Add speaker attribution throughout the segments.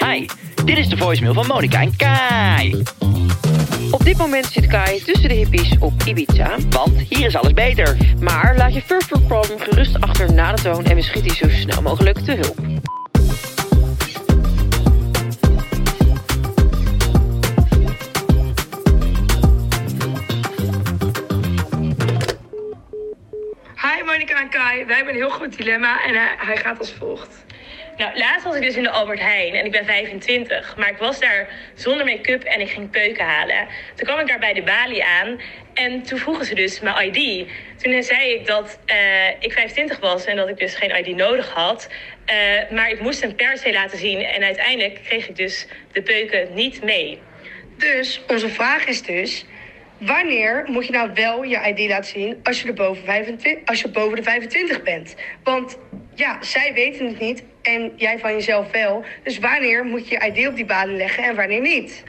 Speaker 1: Hi, dit is de voicemail van Monica en Kai.
Speaker 2: Op dit moment zit Kai tussen de hippies op Ibiza.
Speaker 1: Want hier is alles beter.
Speaker 2: Maar laat je First World Problem gerust achter na de toon en we schieten je zo snel mogelijk te hulp.
Speaker 3: Hi Monica en Kai, wij hebben een heel goed dilemma en eh, hij, hij gaat als volgt.
Speaker 4: Nou, laatst was ik dus in de Albert Heijn en ik ben 25. Maar ik was daar zonder make-up en ik ging peuken halen. Toen kwam ik daar bij de balie aan en toen vroegen ze dus mijn ID. Toen zei ik dat eh, ik 25 was en dat ik dus geen ID nodig had. Eh, maar ik moest hem per se laten zien en uiteindelijk kreeg ik dus de peuken niet mee.
Speaker 3: Dus onze vraag is dus, wanneer moet je nou wel je ID laten zien als je, er boven, 25, als je boven de 25 bent? Want ja, zij weten het niet en jij van jezelf wel. Dus wanneer moet je je ID op die baden leggen en wanneer niet?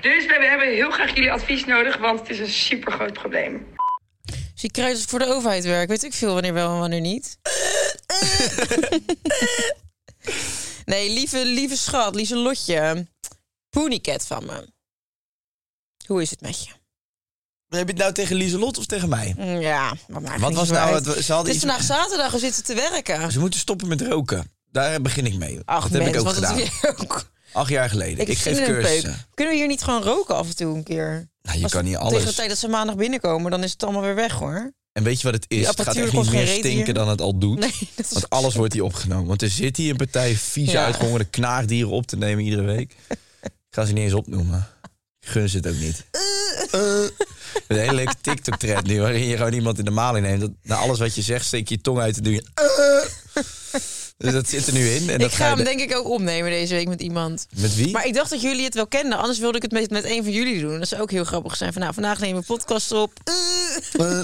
Speaker 3: Dus we hebben heel graag jullie advies nodig, want het is een super groot probleem.
Speaker 5: Dus je kruis voor de overheid werkt. Weet ik veel wanneer wel en wanneer niet. nee, lieve, lieve schat, lieve Lotje. Ponycat van me. Hoe is het met je? Mm,
Speaker 6: Heb je het nou tegen Lieselot of tegen mij?
Speaker 5: Ja, wat maakt
Speaker 6: Wat
Speaker 5: niet
Speaker 6: was
Speaker 5: zo
Speaker 6: nou
Speaker 5: uit.
Speaker 6: het- ze hadden
Speaker 5: Het is
Speaker 6: iets-
Speaker 5: vandaag zaterdag, we zitten te werken.
Speaker 6: Ze moeten stoppen met roken. Daar begin ik mee.
Speaker 5: Ach,
Speaker 6: dat
Speaker 5: mens,
Speaker 6: heb ik ook
Speaker 5: wat
Speaker 6: gedaan.
Speaker 5: doe je ook.
Speaker 6: Acht jaar geleden. Ik,
Speaker 5: heb zin
Speaker 6: geef
Speaker 5: in een peuk.
Speaker 6: cursussen.
Speaker 5: Kunnen we hier niet gewoon roken af en toe een keer?
Speaker 6: Nou, je
Speaker 5: Als-
Speaker 6: kan niet
Speaker 5: Tegen de
Speaker 6: alles.
Speaker 5: tijd dat ze maandag binnenkomen, dan is het allemaal weer weg hoor.
Speaker 6: En weet je wat het is?
Speaker 5: Die
Speaker 6: Het gaat
Speaker 5: apparatuur
Speaker 6: echt niet
Speaker 5: kost geen
Speaker 6: meer
Speaker 5: reet
Speaker 6: stinken
Speaker 5: hier.
Speaker 6: dan het al doet.
Speaker 5: Nee, dat is
Speaker 6: want alles wordt hier opgenomen. Want er zit hier een partij vieze
Speaker 5: Ja.
Speaker 6: uitgehongerde knaagdieren op te nemen iedere week. Ik ga ze niet eens opnoemen. Ik Gun ze het ook niet. Eh. Een hele leuke TikTok-trend nu, waarin je gewoon iemand in de maling neemt. Dat, na alles wat je zegt, steek je je tong uit en doe je... eh. Dus dat zit er nu in. En dat
Speaker 5: Ik ga
Speaker 6: je
Speaker 5: hem
Speaker 6: de-
Speaker 5: denk ik ook opnemen deze week met iemand.
Speaker 6: Met wie?
Speaker 5: Maar ik dacht dat jullie het wel kenden. Anders wilde ik het met, met een van jullie doen. Dat zou ook heel grappig zijn. Van, nou, vandaag nemen we podcast op.
Speaker 6: Eh.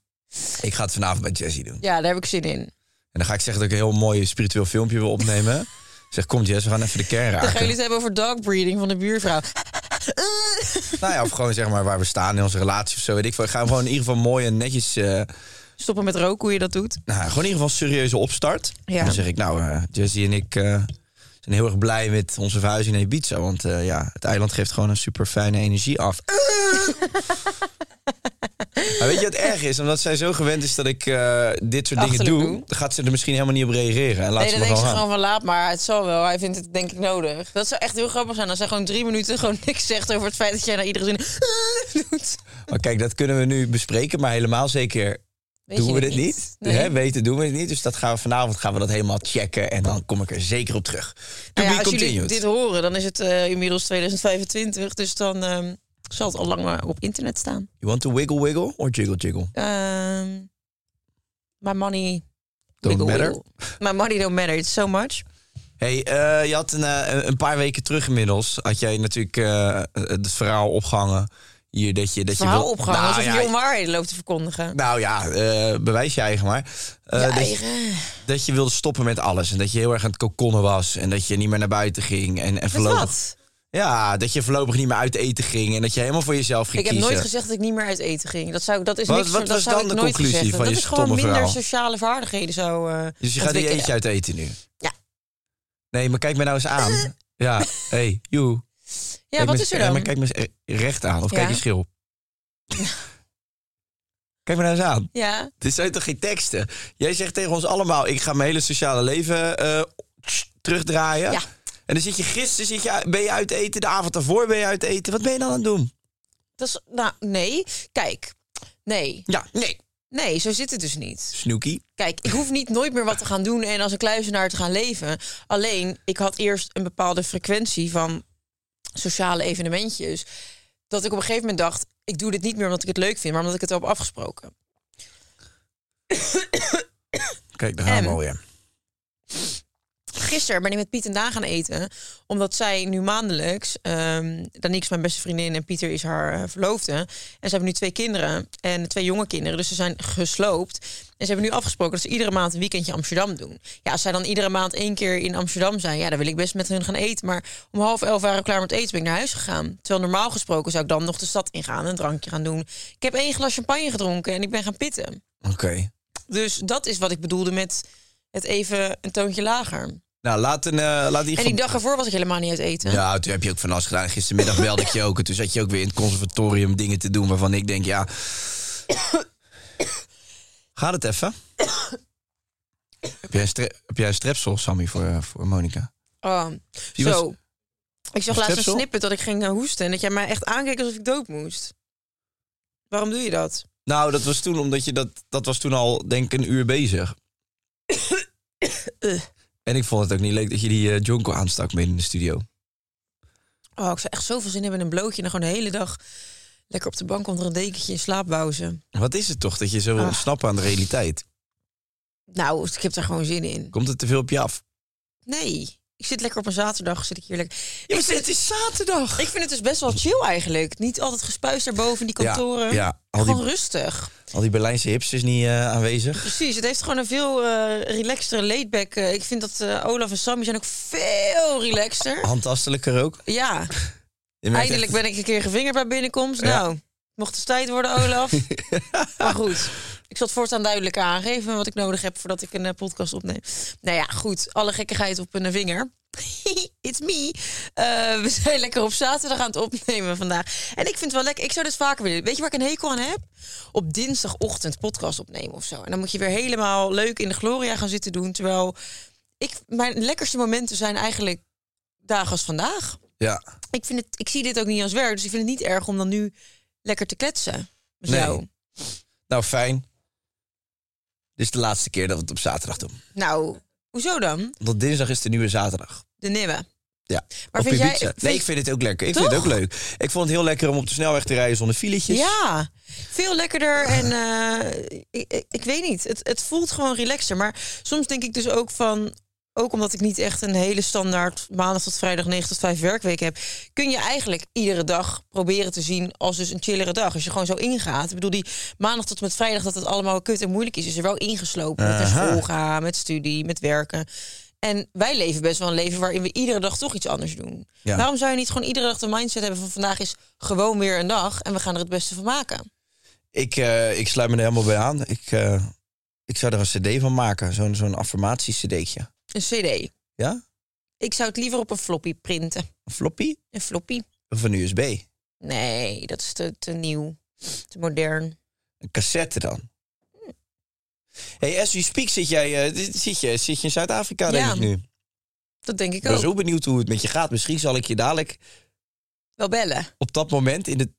Speaker 6: ik ga het vanavond bij Jessie doen.
Speaker 5: Ja, daar heb ik zin in.
Speaker 6: En dan ga ik zeggen dat ik een heel mooi spiritueel filmpje wil opnemen. Ik Zeg, kom Jess, we gaan even de kern
Speaker 5: Dan gaan
Speaker 6: raken.
Speaker 5: jullie het hebben over dog breeding van de buurvrouw.
Speaker 6: Nou ja, of gewoon zeg maar waar we staan in onze relatie of zo. Weet ik veel. Ik ga hem gewoon in ieder geval mooi en netjes... eh,
Speaker 5: Stoppen met roken, hoe je dat doet.
Speaker 6: nou, gewoon in ieder geval serieuze opstart.
Speaker 5: Ja.
Speaker 6: Dan zeg ik, nou, eh Jessie en ik eh, zijn heel erg blij met onze verhuizing in Ibiza. Want eh, ja, het eiland geeft gewoon een super fijne energie af. Eh! maar weet je wat erg is? Omdat zij zo gewend is dat ik eh, dit soort dingen
Speaker 5: Achterlijk
Speaker 6: doe,
Speaker 5: doe.
Speaker 6: dan gaat ze er misschien helemaal niet op reageren. En laat
Speaker 5: Nee,
Speaker 6: ze
Speaker 5: dan denk
Speaker 6: me
Speaker 5: ze
Speaker 6: gewoon gaan.
Speaker 5: gewoon van laat maar. Het zal wel. Hij vindt het denk ik nodig. Dat zou echt heel grappig zijn als hij gewoon drie minuten gewoon niks zegt over het feit dat jij naar iedere zin eh, doet.
Speaker 6: Maar kijk, dat kunnen we nu bespreken, maar helemaal zeker
Speaker 5: Weet
Speaker 6: doen
Speaker 5: je
Speaker 6: we
Speaker 5: het
Speaker 6: dit niet.
Speaker 5: Nee.
Speaker 6: Hè, weten doen we het niet. Dus dat gaan we vanavond gaan we dat helemaal checken en dan kom ik er zeker op terug. To
Speaker 5: Nou ja,
Speaker 6: be
Speaker 5: als jullie
Speaker 6: continued.
Speaker 5: dit horen, dan is het eh, inmiddels 2025. Dus dan ehm, zal het al lang eh, op internet staan.
Speaker 6: You want to wiggle wiggle or jiggle jiggle?
Speaker 5: Ehm, my money...
Speaker 6: Don't
Speaker 5: wiggle,
Speaker 6: matter.
Speaker 5: wiggle. My money don't matter. It's so much.
Speaker 6: Hey, eh, je had een, eh, een paar weken terug inmiddels had jij natuurlijk eh, het verhaal opgehangen hier dat je dat je
Speaker 5: Verhaal
Speaker 6: wil,
Speaker 5: opgehangen,
Speaker 6: Nou
Speaker 5: alsof
Speaker 6: ja,
Speaker 5: je onwaarheden loopt te verkondigen.
Speaker 6: nou ja, eh, bewijs je eigen maar. Eh,
Speaker 5: Je
Speaker 6: dat je-
Speaker 5: eigen.
Speaker 6: dat je wilde stoppen met alles. En dat je heel erg aan het kokonnen was. En dat je niet meer naar buiten ging. En, en
Speaker 5: Met
Speaker 6: voorlopig
Speaker 5: wat?
Speaker 6: Ja, dat je voorlopig niet meer uit eten ging en dat je helemaal voor jezelf ging
Speaker 5: Ik heb
Speaker 6: kiezen.
Speaker 5: nooit gezegd dat ik niet meer uit eten ging. Dat, zou, dat is
Speaker 6: Wat-
Speaker 5: niks
Speaker 6: wat
Speaker 5: voor-
Speaker 6: was
Speaker 5: dat zou
Speaker 6: dan
Speaker 5: ik
Speaker 6: de
Speaker 5: nooit
Speaker 6: conclusie
Speaker 5: gezegd
Speaker 6: van
Speaker 5: hebben.
Speaker 6: je
Speaker 5: Dat is gewoon
Speaker 6: stomme
Speaker 5: minder
Speaker 6: verhaal?
Speaker 5: sociale vaardigheden zo eh,
Speaker 6: dus je gaat niet
Speaker 5: ontwikkelen.
Speaker 6: eentje uit eten nu.
Speaker 5: Ja. Eh.
Speaker 6: Nee, maar kijk me nou eens aan. Ja, hey, joe.
Speaker 5: Ja, wat is er dan?
Speaker 6: Maar kijk me eens eh, recht aan of
Speaker 5: Ja.
Speaker 6: kijk je schil. Kijk me nou eens aan.
Speaker 5: Ja.
Speaker 6: Dit zijn toch geen teksten? Jij zegt tegen ons allemaal: ik ga mijn hele sociale leven eh, terugdraaien.
Speaker 5: Ja.
Speaker 6: En dan zit je gisteren zit je, ben je uit eten, de avond daarvoor ben je uit eten. Wat ben je dan aan het doen?
Speaker 5: Dat is, nou, nee. Kijk. Nee.
Speaker 6: Ja, nee.
Speaker 5: Nee, zo zit het dus niet.
Speaker 6: Snoekie.
Speaker 5: Kijk, ik hoef niet nooit meer wat te gaan doen en als een kluizenaar te gaan leven. Alleen, ik had eerst een bepaalde frequentie van sociale evenementjes. Dat ik op een gegeven moment dacht, ik doe dit niet meer omdat ik het leuk vind, maar omdat ik het heb afgesproken.
Speaker 6: Kijk, daar gaan
Speaker 5: En?
Speaker 6: we alweer.
Speaker 5: Gisteren ben ik met Piet en Daan gaan eten, omdat zij nu maandelijks, ehm Danique is mijn beste vriendin en Pieter is haar eh, verloofde. En ze hebben nu twee kinderen en twee jonge kinderen, dus ze zijn gesloopt. En ze hebben nu afgesproken dat ze iedere maand een weekendje Amsterdam doen. Ja, als zij dan iedere maand één keer in Amsterdam zijn, ja, dan wil ik best met hun gaan eten. Maar om half elf waren we klaar met eten, ben ik naar huis gegaan. Terwijl normaal gesproken zou ik dan nog de stad ingaan, een drankje gaan doen. Ik heb één glas champagne gedronken en ik ben gaan pitten.
Speaker 6: Oké.
Speaker 5: Dus dat is wat ik bedoelde met het even een toontje lager.
Speaker 6: Nou, laat, een, eh, laat die...
Speaker 5: En die dag ervoor was ik helemaal niet uit eten.
Speaker 6: Ja, toen heb je ook van alles gedaan. Gistermiddag belde ik je ook. En toen zat je ook weer in het conservatorium dingen te doen waarvan ik denk, ja... Gaat het even? heb, jij een stre- heb jij een strepsel, Sammy, voor, eh, voor Monika?
Speaker 5: Oh,
Speaker 6: Die
Speaker 5: zo.
Speaker 6: was-
Speaker 5: Ik zag
Speaker 6: was
Speaker 5: laatst een
Speaker 6: schepsel?
Speaker 5: snippet dat ik ging eh, hoesten... en dat jij mij echt aankeek alsof ik dood moest. Waarom doe je dat?
Speaker 6: Nou, dat was toen omdat je dat... Dat was toen al, denk ik, een uur bezig. en ik vond het ook niet leuk dat je die eh, jonko aanstak midden in de studio.
Speaker 5: Oh, ik zou echt zoveel zin hebben in een blootje... en dan gewoon de hele dag lekker op de bank onder een dekentje in slaap bouwen.
Speaker 6: Wat is het toch dat je zo wil
Speaker 5: Ah.
Speaker 6: ontsnappen aan de realiteit?
Speaker 5: Nou, ik heb daar gewoon zin in.
Speaker 6: Komt het te veel op je af?
Speaker 5: Nee, ik zit lekker op een zaterdag, zit ik hier lekker...
Speaker 6: Ja,
Speaker 5: ik,
Speaker 6: maar
Speaker 5: vind,
Speaker 6: het is zaterdag.
Speaker 5: ik vind het dus best wel chill eigenlijk. Niet altijd gespuis daarboven in die
Speaker 6: Ja,
Speaker 5: kantoren.
Speaker 6: ja, al die-
Speaker 5: gewoon rustig.
Speaker 6: Al die Berlijnse hipsters niet eh, aanwezig.
Speaker 5: Precies, het heeft gewoon een veel eh relaxtere laidback. eh, ik vind dat eh, Olaf en Sammy zijn ook veel relaxter.
Speaker 6: Handtastelijker ook.
Speaker 5: Ja,
Speaker 6: Je merkt
Speaker 5: eindelijk ben ik een keer gevingerd bij binnenkomst.
Speaker 6: Ja.
Speaker 5: Nou, mocht het tijd worden, Olaf. maar goed, ik zal het voortaan duidelijk aangeven wat ik nodig heb voordat ik een eh, podcast opneem. Nou ja, goed, alle gekkigheid op een eh, vinger. It's me. Eh, we zijn lekker op zaterdag aan het opnemen vandaag. En ik vind het wel lekker. Ik zou dit vaker willen. Weet je waar ik een hekel aan heb? Op dinsdagochtend podcast opnemen of zo. En dan moet je weer helemaal leuk in de gloria gaan zitten doen. Terwijl ik, mijn lekkerste momenten zijn eigenlijk dagen als vandaag
Speaker 6: Ja.
Speaker 5: ik, vind het, ik zie dit ook niet als werk, dus ik vind het niet erg om dan nu lekker te kletsen. Met
Speaker 6: Nee.
Speaker 5: jou.
Speaker 6: Nou, fijn. Dit is de laatste keer dat we het op zaterdag doen.
Speaker 5: Nou, hoezo dan?
Speaker 6: Want dinsdag is de nieuwe zaterdag.
Speaker 5: De nieuwe.
Speaker 6: Ja.
Speaker 5: Maar
Speaker 6: Op
Speaker 5: vind jij-
Speaker 6: Ibiza.
Speaker 5: vind-
Speaker 6: Nee, ik vind het ook lekker. Ik vind
Speaker 5: Toch?
Speaker 6: het ook leuk. Ik vond het heel lekker om op de snelweg te rijden zonder filetjes.
Speaker 5: Ja, veel lekkerder en eh, ik, ik- ik weet niet. Het, het voelt gewoon relaxter. Maar soms denk ik dus ook van, ook omdat ik niet echt een hele standaard maandag tot vrijdag 9 tot 5 werkweek heb, kun je eigenlijk iedere dag proberen te zien als dus een chillere dag. Als je gewoon zo ingaat. Ik bedoel, die maandag tot en met vrijdag dat het allemaal kut en moeilijk is, is er wel ingeslopen. Met naar school gaan, met studie, met werken. En wij leven best wel een leven waarin we iedere dag toch iets anders doen.
Speaker 6: Ja.
Speaker 5: Waarom zou je niet gewoon iedere dag de mindset hebben van vandaag is gewoon weer een dag en we gaan er het beste van maken?
Speaker 6: Ik, eh, ik sluit me er helemaal bij aan. Ik, eh, ik zou er een cd van maken. Zo'n zo'n affirmatie-cd'tje.
Speaker 5: Een CD.
Speaker 6: Ja?
Speaker 5: Ik zou het liever op een floppy printen.
Speaker 6: Een floppy?
Speaker 5: Een floppy?
Speaker 6: Of een USB?
Speaker 5: Nee, dat is te, te nieuw, te modern.
Speaker 6: Een cassette dan?
Speaker 5: Hm.
Speaker 6: Hey, as we speak zit, jij, eh, dit- zit, je, zit je in Zuid-Afrika, denk
Speaker 5: Ja.
Speaker 6: ik nu.
Speaker 5: Dat denk ik
Speaker 6: Ik ben
Speaker 5: ook.
Speaker 6: zo benieuwd hoe het met je gaat. Misschien zal ik je dadelijk
Speaker 5: Wel bellen.
Speaker 6: op dat moment in de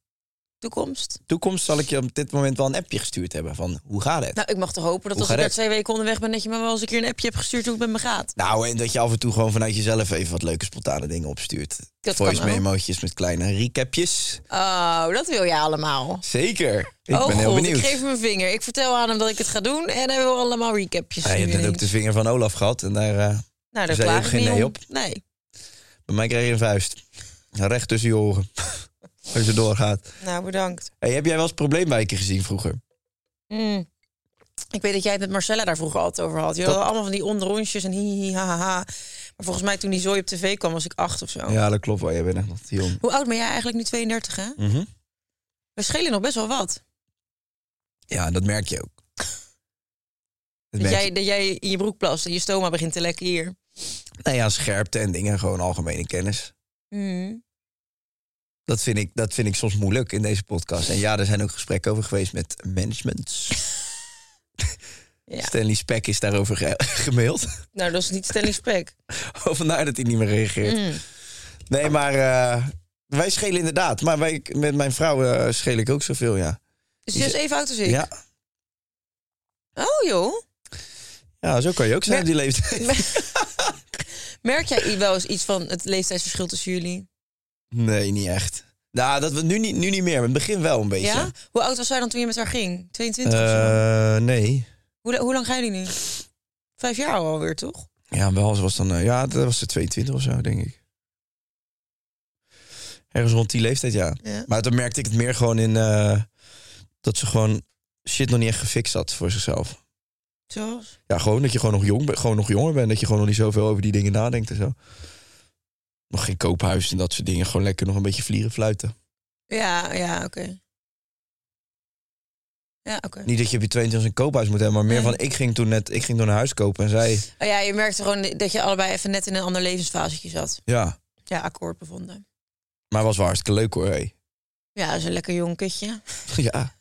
Speaker 5: Toekomst.
Speaker 6: toekomst zal ik je op dit moment wel een appje gestuurd hebben van hoe gaat het? Nou,
Speaker 5: Nou, ik mag toch hopen dat
Speaker 6: Hoe
Speaker 5: als ik
Speaker 6: gaat
Speaker 5: daar
Speaker 6: het?
Speaker 5: twee weken onderweg ben, dat je me wel eens een keer een appje hebt gestuurd hoe het met me gaat.
Speaker 6: Nou, en dat je af en toe gewoon vanuit jezelf even wat leuke spontane dingen opstuurt.
Speaker 5: Dat kan
Speaker 6: Voice
Speaker 5: ook.
Speaker 6: memootjes met kleine recapjes.
Speaker 5: Oh, dat wil jij allemaal.
Speaker 6: Zeker. Ik
Speaker 5: oh
Speaker 6: ben heel
Speaker 5: god,
Speaker 6: benieuwd.
Speaker 5: ik geef hem een vinger. Ik vertel aan hem dat ik het ga doen en hij wil allemaal recapjes.
Speaker 6: Hij
Speaker 5: nu
Speaker 6: heeft net Ah, ook
Speaker 5: ineens.
Speaker 6: de vinger van Olaf gehad en daar eh,
Speaker 5: Nou, daar
Speaker 6: zei
Speaker 5: klaag
Speaker 6: ook
Speaker 5: ik
Speaker 6: geen
Speaker 5: niet
Speaker 6: nee
Speaker 5: om.
Speaker 6: op.
Speaker 5: Nee,
Speaker 6: bij mij kreeg je een vuist. Recht tussen je oren. Als je doorgaat.
Speaker 5: nou bedankt.
Speaker 6: Hey, heb jij wel eens probleemwijken gezien vroeger?
Speaker 5: Mm. Ik weet dat jij het met Marcella daar vroeger altijd over had. Je had allemaal van die onderrondjes en hihi, ha, ha, ha. Maar volgens mij toen die zooi op tv kwam was ik acht of zo.
Speaker 6: Ja, dat klopt wel. Jij bent echt nog te jong.
Speaker 5: Hoe oud ben jij eigenlijk nu? 32, hè?
Speaker 6: Mhm.
Speaker 5: We schelen nog best wel wat.
Speaker 6: Ja, dat merk je ook. Dat
Speaker 5: Dat
Speaker 6: merk
Speaker 5: jij, dat jij in je broek plast en je stoma begint te lekken hier. Mm.
Speaker 6: je. Nou ja, scherpte en dingen. Gewoon algemene kennis. Dat vind, ik, dat vind ik soms moeilijk in deze podcast. En ja, er zijn ook gesprekken over geweest met management.
Speaker 5: Ja.
Speaker 6: Stanley Speck is daarover ge- gemaild.
Speaker 5: Nou, dat is niet Stanley Speck.
Speaker 6: Oh, Vandaar dat hij niet meer reageert.
Speaker 5: Mm.
Speaker 6: Nee, maar eh, wij schelen inderdaad. Maar wij, met mijn vrouw eh, scheel ik ook zoveel, ja.
Speaker 5: Is hij dus even oud als ik?
Speaker 6: Ja.
Speaker 5: Oh joh.
Speaker 6: ja, zo kan je ook zijn op die leeftijd.
Speaker 5: Merk jij wel eens iets van het leeftijdsverschil tussen jullie?
Speaker 6: Nee, niet echt. Nou, dat we nu niet, nu niet meer. maar In het begin wel een beetje.
Speaker 5: Ja? Hoe oud was zij dan toen je met haar ging? 22 of zo?
Speaker 6: Eh, nee.
Speaker 5: Hoe, la- hoe lang gaan jullie nu? Vijf jaar alweer, toch?
Speaker 6: Ja, wel, ze was dan... eh, ja, dat was de 22 of zo, denk ik. Ergens rond die leeftijd, ja.
Speaker 5: Ja.
Speaker 6: Maar toen merkte ik het meer gewoon in... eh, dat ze gewoon shit nog niet echt gefixt had voor zichzelf.
Speaker 5: Zoals?
Speaker 6: Ja, gewoon dat je gewoon nog, jong bent, gewoon nog jonger bent. Dat je gewoon nog niet zoveel over die dingen nadenkt en zo. Nog geen koophuis en dat soort dingen. Gewoon lekker nog een beetje vlieren fluiten.
Speaker 5: Ja, ja, oké. Ja, oké.
Speaker 6: Niet dat je op je 22 een koophuis moet hebben. Maar meer
Speaker 5: Nee.
Speaker 6: van, ik ging toen net ik ging toen een huis kopen. En zij,
Speaker 5: Oh ja, je merkte gewoon dat je allebei even net in een ander levensfasetje zat.
Speaker 6: ja.
Speaker 5: Ja, akkoord bevonden.
Speaker 6: Maar was wel hartstikke leuk hoor, hé.
Speaker 5: Ja, dat is een lekker jong kutje.
Speaker 6: Ja.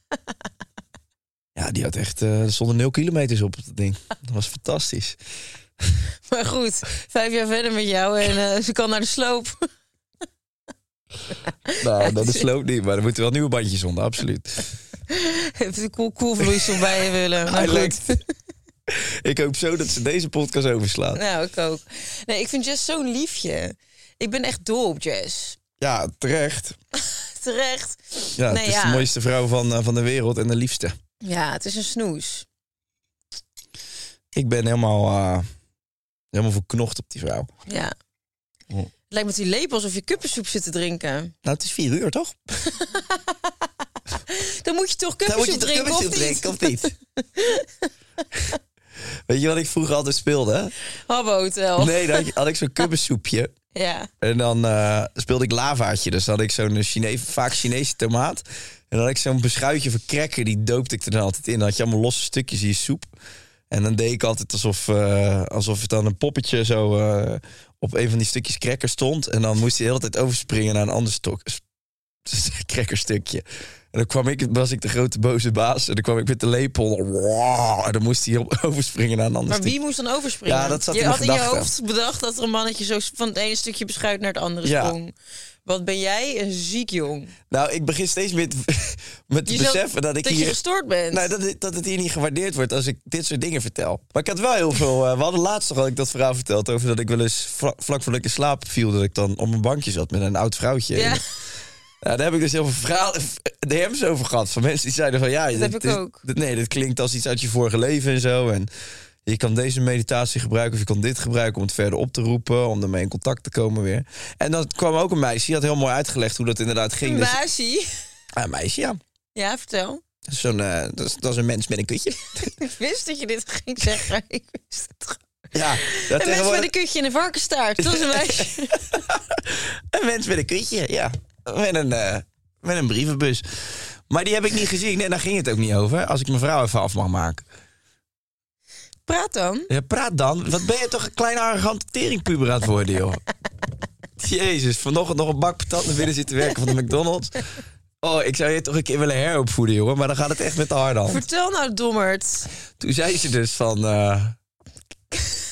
Speaker 6: Ja, die had echt, eh, er stonden nul kilometers op dat ding. Dat was fantastisch.
Speaker 5: Maar goed, vijf jaar verder met jou en eh, ze kan naar de sloop.
Speaker 6: Nou, dat is sloot niet, maar er moeten wel nieuwe bandjes onder, absoluut.
Speaker 5: Even de koel- koelvloeistof bij je willen. Nou,
Speaker 6: Hij
Speaker 5: goed.
Speaker 6: lekt. Ik hoop zo dat ze deze podcast overslaat.
Speaker 5: Nou, ik ook. Nee, ik vind Jess zo'n liefje. Ik ben echt dol op Jess.
Speaker 6: Ja, terecht.
Speaker 5: Terecht.
Speaker 6: Ja,
Speaker 5: Nee,
Speaker 6: het is
Speaker 5: ja.
Speaker 6: de mooiste vrouw van, eh, van de wereld en de liefste.
Speaker 5: Ja, het is een snoes.
Speaker 6: Ik ben helemaal, eh, helemaal verknocht op die vrouw.
Speaker 5: Ja.
Speaker 6: Oh.
Speaker 5: Het lijkt met die lepel alsof je kuppensoep zit te drinken.
Speaker 6: Nou, het is vier uur, toch?
Speaker 5: Dan moet je toch
Speaker 6: Dan moet je
Speaker 5: kuppensoep
Speaker 6: toch
Speaker 5: drinken, of
Speaker 6: kuppensoep
Speaker 5: niet?
Speaker 6: drinken, of niet? Weet je wat ik vroeger altijd speelde? hè?
Speaker 5: Habbo Hotel.
Speaker 6: Nee, dan had je- had ik zo'n kubbensoepje.
Speaker 5: Ja.
Speaker 6: En dan eh, speelde ik lavaatje. Dus dan had ik zo'n Chine vaak Chinese tomaat. En dan had ik zo'n beschuitje van cracker. Die doopte ik er dan altijd in. Dan had je allemaal losse stukjes in je soep. En dan deed ik altijd alsof, eh, alsof het dan een poppetje zo eh, op een van die stukjes cracker stond. En dan moest hij de hele tijd overspringen naar een ander stok, crackerstukje. En dan kwam ik, was ik de grote boze baas. En dan kwam ik met de lepel. Wow, en dan moest hij op, overspringen naar een ander
Speaker 5: Maar
Speaker 6: stukje.
Speaker 5: wie moest dan overspringen?
Speaker 6: Ja, dat zat
Speaker 5: je
Speaker 6: in mijn
Speaker 5: had in je
Speaker 6: gedachten.
Speaker 5: hoofd bedacht dat er een mannetje zo van het ene stukje beschuit naar het andere
Speaker 6: Ja.
Speaker 5: sprong. Wat ben jij een ziek jong.
Speaker 6: Nou, ik begin steeds met, met
Speaker 5: Je
Speaker 6: het
Speaker 5: zult-
Speaker 6: beseffen dat ik
Speaker 5: dat je
Speaker 6: hier...
Speaker 5: gestoord bent.
Speaker 6: Nou, dat, het- dat het hier niet gewaardeerd wordt als ik dit soort dingen vertel. Maar ik had wel heel veel... eh, we hadden laatst nog al ik dat verhaal verteld over dat ik wel eens vla- vlak voordat ik in slaap viel... dat ik dan op een bankje zat met een oud vrouwtje.
Speaker 5: Ja,
Speaker 6: En, nou, daar heb ik dus heel veel verhalen, DM's over gehad. Van mensen die zeiden van ja... Dat
Speaker 5: heb ik ook.
Speaker 6: nee, dit klinkt als iets uit je vorige leven en zo. En je kan deze meditatie gebruiken of je kan dit gebruiken... om het verder op te roepen, om ermee in contact te komen weer. En dan kwam ook een meisje, die had heel mooi uitgelegd hoe dat inderdaad ging.
Speaker 5: een
Speaker 6: Dus-
Speaker 5: baasje.
Speaker 6: Ah, een meisje, ja.
Speaker 5: Ja, vertel.
Speaker 6: Zo'n, eh, dat, is, dat is een mens met een kutje.
Speaker 5: Ik wist dat je dit ging zeggen. Ik wist het gewoon.
Speaker 6: Ja, dat
Speaker 5: Een mens
Speaker 6: tegenwoordig-
Speaker 5: met een kutje en een varkenstaart. Dat is een meisje.
Speaker 6: een mens met een kutje, ja. Met een, eh, met een brievenbus. Maar die heb ik niet gezien. Nee, daar ging het ook niet over. Als ik mijn vrouw even af mag maken.
Speaker 5: Praat dan.
Speaker 6: Ja, praat dan. Wat ben je toch een kleine arrogante teringpuber aan het worden, joh. Jezus, vanochtend nog een bak patat naar binnen zitten werken van de McDonald's. Oh, ik zou je toch een keer willen heropvoeden, jongen. Maar dan gaat het echt met de harde hand.
Speaker 5: Vertel nou, dommerd.
Speaker 6: Toen zei ze dus van... eh,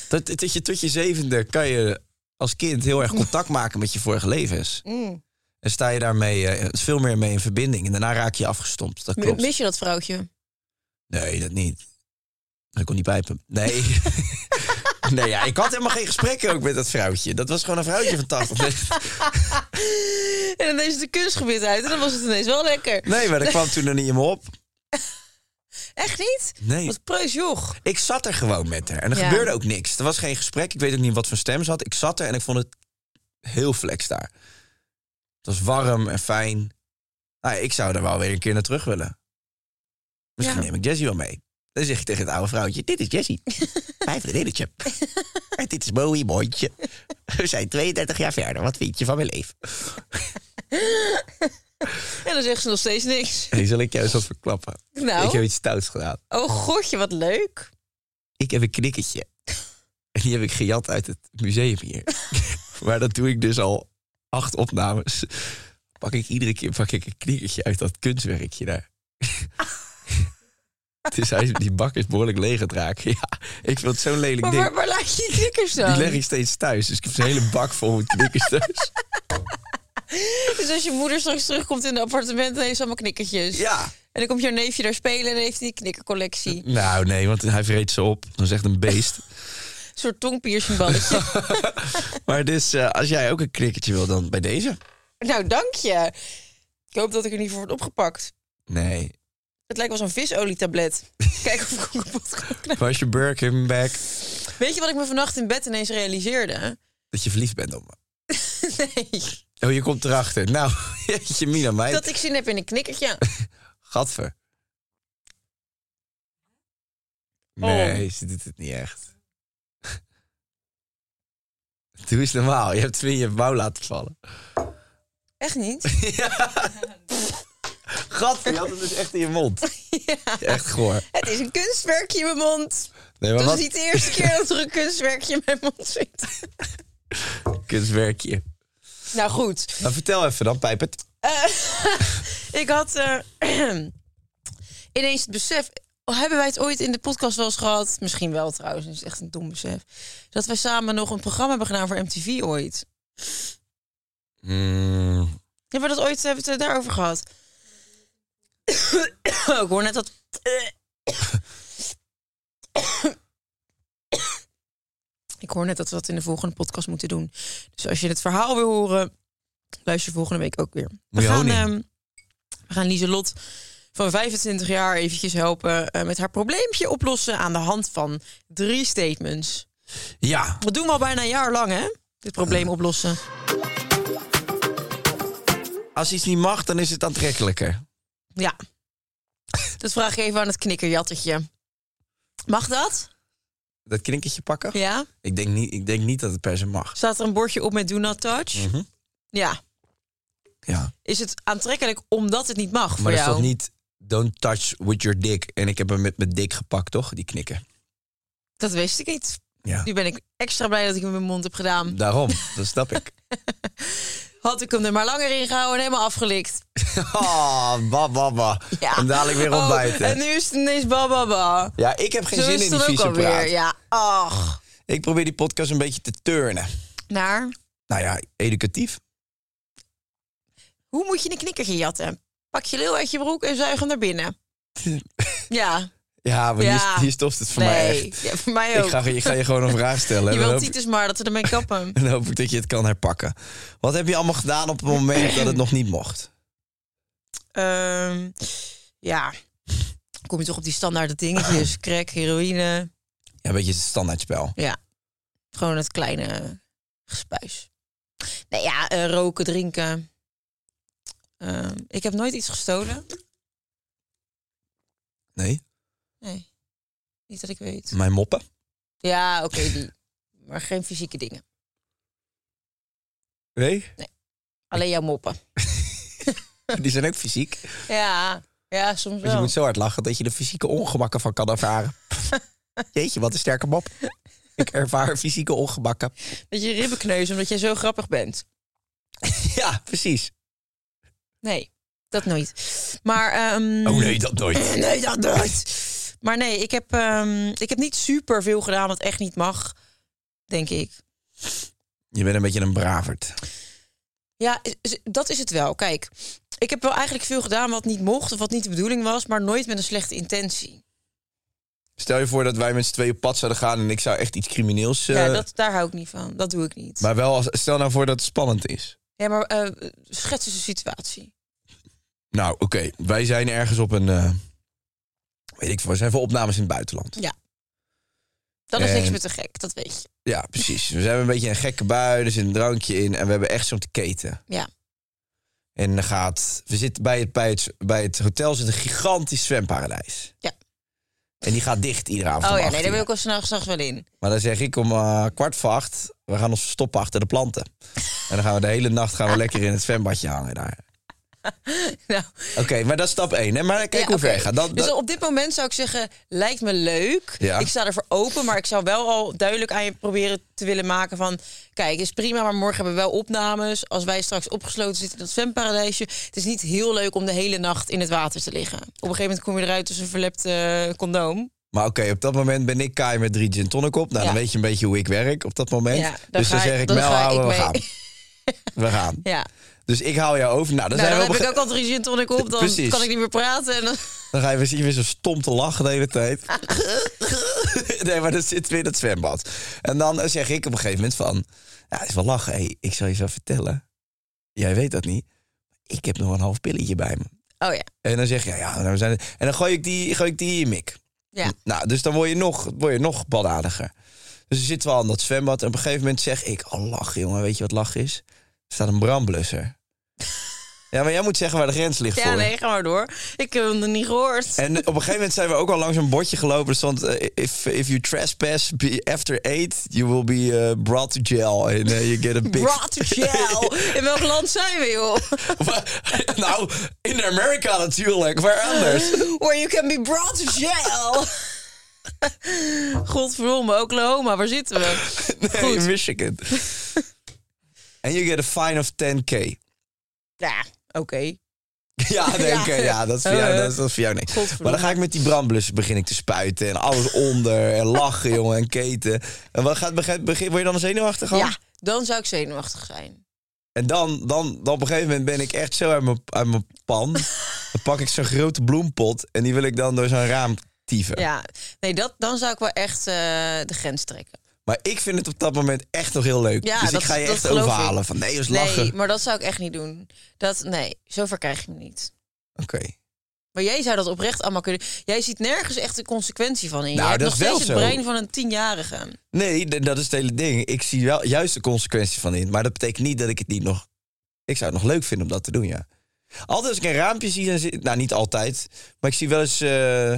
Speaker 6: dat, dat je tot je zevende kan je als kind heel erg contact maken met je vorige levens.
Speaker 5: Mm.
Speaker 6: En sta je daarmee eh, veel meer mee in verbinding. En daarna raak je afgestompt. Dat
Speaker 5: M-
Speaker 6: klopt.
Speaker 5: Mis je dat vrouwtje?
Speaker 6: Nee, dat niet. Ik kon niet pijpen. Nee. nee, ja, ik had helemaal geen gesprekken ook met dat vrouwtje. Dat was gewoon een vrouwtje van 80.
Speaker 5: En ineens het kunstgebied uit en dan was het ineens wel lekker.
Speaker 6: Nee, maar dat kwam toen er niet in me op.
Speaker 5: Echt niet?
Speaker 6: Nee.
Speaker 5: Wat preus joch.
Speaker 6: Ik zat er gewoon met haar. En er
Speaker 5: Ja.
Speaker 6: gebeurde ook niks. Er was geen gesprek. Ik weet ook niet wat voor stem ze had. Ik zat er en ik vond het heel flex daar. Het was warm en fijn. Nou, ja, ik zou er wel weer een keer naar terug willen. Misschien
Speaker 5: Ja.
Speaker 6: neem ik Jessie wel mee. Dan zeg ik tegen het oude vrouwtje: Dit is Jessie. Mijn vriendinnetje. en dit is Bowie, mondje. We zijn 32 jaar verder. Wat vind je van mijn leven?
Speaker 5: En dan zegt ze nog steeds niks.
Speaker 6: En zal ik juist wat verklappen.
Speaker 5: Nou.
Speaker 6: Ik heb iets stouts gedaan.
Speaker 5: Oh godje, wat leuk.
Speaker 6: ik heb een knikkertje. En die heb ik gejat uit het museum hier. maar dat doe ik dus al acht opnames. pak ik iedere keer pak ik een knikkertje uit dat kunstwerkje daar. dus hij, die bak is behoorlijk leeg aan het raken. Ja, ik vind het zo'n lelijk
Speaker 5: Maar
Speaker 6: ding.
Speaker 5: waar, waar laat je knikkers dan?
Speaker 6: Die leg ik steeds thuis. Dus ik heb zo'n hele bak vol met knikkers thuis.
Speaker 5: Dus als je moeder straks terugkomt in het appartement, dan heeft ze allemaal knikkertjes.
Speaker 6: Ja.
Speaker 5: En dan komt jouw neefje daar spelen en dan heeft hij die knikkercollectie. Een
Speaker 6: Nou, nee, want hij vreet ze op. Dat is echt een beest.
Speaker 5: soort tongpiercingballetje.
Speaker 6: maar dus, eh, als jij ook een knikkertje wil, dan bij deze.
Speaker 5: nou, dank je. Ik hoop dat ik er niet voor word opgepakt.
Speaker 6: Nee.
Speaker 5: Het lijkt wel zo'n visolietablet. Kijk of ik ook kapot kan knappen.
Speaker 6: Was je Birkin back?
Speaker 5: Weet je wat ik me vannacht in bed ineens realiseerde?
Speaker 6: Dat je verliefd bent op me.
Speaker 5: Nee.
Speaker 6: Oh, je komt erachter. Nou, jeetje, Mina, mij.
Speaker 5: Dat ik zin heb in een knikkertje.
Speaker 6: Gadver.
Speaker 5: Oh.
Speaker 6: Nee, ze doet het niet echt. Doe eens normaal. Je hebt Swin je mouw laten vallen.
Speaker 5: Echt niet?
Speaker 6: Gadver, je had het dus echt in je mond. Echt goor.
Speaker 5: Het is een kunstwerkje in mijn mond.
Speaker 6: Nee,
Speaker 5: Dat
Speaker 6: maar
Speaker 5: is
Speaker 6: wat
Speaker 5: niet de eerste keer dat er een kunstwerkje in mijn mond zit.
Speaker 6: kunstwerkje.
Speaker 5: Nou goed. Eh,
Speaker 6: Nou, vertel even dan, Pijpert.
Speaker 5: Ik had eh, ineens het besef. Hebben wij het ooit in de podcast wel eens gehad? Misschien wel trouwens, het is echt een dom besef. Dat wij samen nog een programma hebben gedaan voor MTV ooit. Hebben we dat ooit hebben we het daarover gehad? Ik hoor net dat. Ik hoor net dat we dat in de volgende podcast moeten doen. Dus als je het verhaal wil horen, luister volgende week ook weer. We
Speaker 6: Moet je
Speaker 5: gaan,
Speaker 6: honing?
Speaker 5: ehm, we gaan Lieselot van 25 jaar eventjes helpen eh, met haar probleempje oplossen aan de hand van drie statements.
Speaker 6: Ja.
Speaker 5: Dat doen we al bijna een jaar lang, hè? Dit probleem oplossen.
Speaker 6: Als iets niet mag, dan is het aantrekkelijker.
Speaker 5: Ja. Dat vraag ik even aan het knikkerjattetje. Mag dat?
Speaker 6: Dat knikketje pakken?
Speaker 5: Ja.
Speaker 6: Ik, denk niet, ik denk niet dat het per se mag.
Speaker 5: Staat er een bordje op met do not touch?
Speaker 6: Mhm.
Speaker 5: Ja.
Speaker 6: Ja.
Speaker 5: Is het aantrekkelijk omdat het niet mag voor
Speaker 6: Maar dat
Speaker 5: jou?
Speaker 6: staat niet don't touch with your dick. En ik heb hem met mijn dik gepakt, toch? Die knikken.
Speaker 5: Dat wist ik niet.
Speaker 6: Ja.
Speaker 5: Nu ben ik extra blij dat ik hem in mijn mond heb gedaan.
Speaker 6: Daarom, dat snap ik.
Speaker 5: Had ik hem er maar langer in gehouden en helemaal afgelikt.
Speaker 6: Oh, ba, ba, ba.
Speaker 5: Ja.
Speaker 6: En dadelijk weer
Speaker 5: Oh,
Speaker 6: ontbijten.
Speaker 5: en nu is het ineens ba, ba, ba.
Speaker 6: Ja, ik heb geen
Speaker 5: Zo
Speaker 6: zin
Speaker 5: is
Speaker 6: in
Speaker 5: het
Speaker 6: die
Speaker 5: dan ook
Speaker 6: vieze
Speaker 5: alweer.
Speaker 6: praat.
Speaker 5: Ja, ach.
Speaker 6: Ik probeer die podcast een beetje te turnen.
Speaker 5: Naar,
Speaker 6: Nou ja, educatief.
Speaker 5: hoe moet je een knikkertje jatten? Pak je leeuw uit je broek en zuig hem naar binnen. Ja,
Speaker 6: Ja, maar
Speaker 5: Ja.
Speaker 6: Hier, hier stopt het voor mij
Speaker 5: nee.
Speaker 6: echt.
Speaker 5: Ja, voor mij
Speaker 6: Ik
Speaker 5: ook.
Speaker 6: ga, ik ga je gewoon een vraag stellen.
Speaker 5: je
Speaker 6: En dan
Speaker 5: wilt
Speaker 6: hoop-
Speaker 5: Titus maar dat ze ermee kappen.
Speaker 6: dan hoop ik dat je het kan herpakken. Wat heb je allemaal gedaan op het moment dat het nog niet mocht?
Speaker 5: Ehm, ja, kom je toch op die standaard dingetjes. Crack, heroïne.
Speaker 6: Ja, een beetje het standaardspel.
Speaker 5: Ja, gewoon het kleine gespuis. Nee, ja, eh, roken, drinken. Ehm, ik heb nooit iets gestolen.
Speaker 6: Nee,
Speaker 5: Nee, niet dat ik weet.
Speaker 6: mijn moppen.
Speaker 5: Ja, oké, die. Maar geen fysieke dingen.
Speaker 6: Nee,
Speaker 5: Alleen jouw moppen.
Speaker 6: die zijn ook fysiek.
Speaker 5: Ja, ja soms
Speaker 6: Dus je
Speaker 5: wel.
Speaker 6: moet zo hard lachen dat je de fysieke ongemakken van kan ervaren. Jeetje, wat een sterke mop. Ik ervaar fysieke ongemakken.
Speaker 5: Dat je ribben kneuzen omdat jij zo grappig bent.
Speaker 6: Ja, precies.
Speaker 5: Nee, dat nooit. Maar... ehm,
Speaker 6: Oh nee, dat nooit.
Speaker 5: Nee, dat nooit. Maar nee, ik heb, ehm, ik heb niet super veel gedaan wat echt niet mag, denk ik.
Speaker 6: Je bent een beetje een braverd.
Speaker 5: Ja, is- is- dat is het wel. Kijk, ik heb wel eigenlijk veel gedaan wat niet mocht of wat niet de bedoeling was, maar nooit met een slechte intentie.
Speaker 6: Stel je voor dat wij met z'n tweeën op pad zouden gaan en ik zou echt iets crimineels... eh,
Speaker 5: ja, dat, daar hou ik niet van. Dat doe ik niet.
Speaker 6: Maar wel, als, stel nou voor dat het spannend is.
Speaker 5: ja, maar eh, schets eens een situatie.
Speaker 6: Nou, oké. Wij zijn ergens op een... eh, weet ik veel, we zijn voor opnames in het buitenland.
Speaker 5: Ja. Dan is niks
Speaker 6: En-
Speaker 5: meer te gek, dat weet je.
Speaker 6: Ja, precies. We zijn een beetje in een gekke bui, er zit een drankje in en we hebben echt zo'n te keten.
Speaker 5: Ja.
Speaker 6: En dan gaat, we zitten bij het, bij, het, bij het hotel zit een gigantisch zwemparadijs.
Speaker 5: Ja.
Speaker 6: En die gaat dicht iedere avond.
Speaker 5: Oh
Speaker 6: om
Speaker 5: ja,
Speaker 6: acht
Speaker 5: nee, daar
Speaker 6: uur.
Speaker 5: wil ik al s'nachts nachts wel in.
Speaker 6: Maar dan zeg ik om eh, kwart voor acht, we gaan ons verstoppen achter de planten. En dan gaan we de hele nacht gaan we lekker in het zwembadje hangen daar.
Speaker 5: nou,
Speaker 6: Oké, maar dat is stap 1. Hè? Maar kijk
Speaker 5: ja,
Speaker 6: hoe ver
Speaker 5: oké.
Speaker 6: je gaat. Dat,
Speaker 5: Dus
Speaker 6: dat-
Speaker 5: op dit moment zou ik zeggen, lijkt me leuk.
Speaker 6: Ja.
Speaker 5: Ik sta ervoor open, maar ik zou wel al duidelijk aan je proberen te willen maken van... Kijk, is prima, maar morgen hebben we wel opnames. Als wij straks opgesloten zitten in dat zwemparadijsje... Het is niet heel leuk om de hele nacht in het water te liggen. Op een gegeven moment kom je eruit tussen een verlept eh, condoom.
Speaker 6: Maar oké, op dat moment ben ik Kai met drie gin tonic op. Nou,
Speaker 5: Ja.
Speaker 6: dan weet je een beetje hoe ik werk op dat moment.
Speaker 5: Ja, dan
Speaker 6: dus dan
Speaker 5: ga ik-
Speaker 6: zeg ik,
Speaker 5: dan
Speaker 6: mel
Speaker 5: ga
Speaker 6: houden, we
Speaker 5: ik
Speaker 6: gaan.
Speaker 5: mee.
Speaker 6: We gaan.
Speaker 5: Ja.
Speaker 6: Dus ik haal jou over. Nou, dan,
Speaker 5: nou,
Speaker 6: zijn
Speaker 5: dan heb
Speaker 6: we op een
Speaker 5: ik
Speaker 6: ge-
Speaker 5: ook al drie gin tonic op. Dan
Speaker 6: Precies.
Speaker 5: kan ik niet meer praten. En dan...
Speaker 6: Dan ga je weer zien, weer zo stom te lachen de hele tijd. nee, maar dan zitten we in het zwembad. En dan eh, zeg ik op een gegeven moment van... Ja, het is wel lachen. Hey, ik zal je zo vertellen. Jij weet dat niet. Ik heb nog een half pilletje bij me.
Speaker 5: Oh ja,
Speaker 6: En dan zeg je, ja, nou, we zijn... En dan gooi ik die, gooi ik die in je mik.
Speaker 5: ja.
Speaker 6: Nou, dus dan word je nog, word je nog badadiger. Dus dan zitten we al in dat zwembad. En op een gegeven moment zeg ik, oh lach jongen, weet je wat lach is? Er staat een brandblusser. ja, maar jij moet zeggen waar de grens ligt
Speaker 5: Ja,
Speaker 6: voor.
Speaker 5: nee, ga maar door. Ik heb hem nog niet gehoord.
Speaker 6: En op een gegeven moment zijn we ook al langs een bordje gelopen. Er stond, eh, if, if you trespass be after eight, you will be eh, brought to jail. And eh, you get a big...
Speaker 5: Brought to jail. In welk land zijn we, joh?
Speaker 6: nou, in Amerika natuurlijk, waar anders?
Speaker 5: Where you can be brought to jail. Godverdomme, Oklahoma, waar zitten we?
Speaker 6: Nee, in Michigan. And you get a fine of 10k.
Speaker 5: Ja, oké.
Speaker 6: Ja, nee,
Speaker 5: Ja.
Speaker 6: oké, ja, dat is voor jou,
Speaker 5: Eh,
Speaker 6: dat is, dat is voor jou niks.
Speaker 5: godverdomme.
Speaker 6: Maar dan ga ik met die brandblussen begin ik te spuiten en alles onder en lachen, jongen, en keten. En wat gaat begin, begin, word je dan zenuwachtig? van?
Speaker 5: Ja, dan zou ik zenuwachtig zijn.
Speaker 6: En dan, dan, dan op een gegeven moment ben ik echt zo uit mijn, uit mijn pan. Dan pak ik zo'n grote bloempot en die wil ik dan door zo'n raam tieven.
Speaker 5: Ja, nee, dat, dan zou ik wel echt eh, de grens trekken.
Speaker 6: Maar ik vind het op dat moment echt nog heel leuk.
Speaker 5: Ja,
Speaker 6: dus
Speaker 5: dat-
Speaker 6: ik ga je
Speaker 5: dat
Speaker 6: echt
Speaker 5: geloof ik.
Speaker 6: overhalen van nee, eens lachen.
Speaker 5: Nee, maar dat zou ik echt niet doen. Dat, nee, zover krijg je me niet.
Speaker 6: Oké.
Speaker 5: Maar jij zou dat oprecht allemaal kunnen. Jij ziet nergens echt de consequentie van in. Je
Speaker 6: Nou,
Speaker 5: hebt
Speaker 6: dat
Speaker 5: nog
Speaker 6: is wel
Speaker 5: steeds het
Speaker 6: zo.
Speaker 5: brein van een tienjarige.
Speaker 6: Nee, d- dat is het hele ding. Ik zie wel juist de consequentie van in. Maar dat betekent niet dat ik het niet nog... Ik zou het nog leuk vinden om dat te doen, ja. Altijd als ik een raampje zie, dan zit... Nou, niet altijd. Maar ik zie wel eens eh,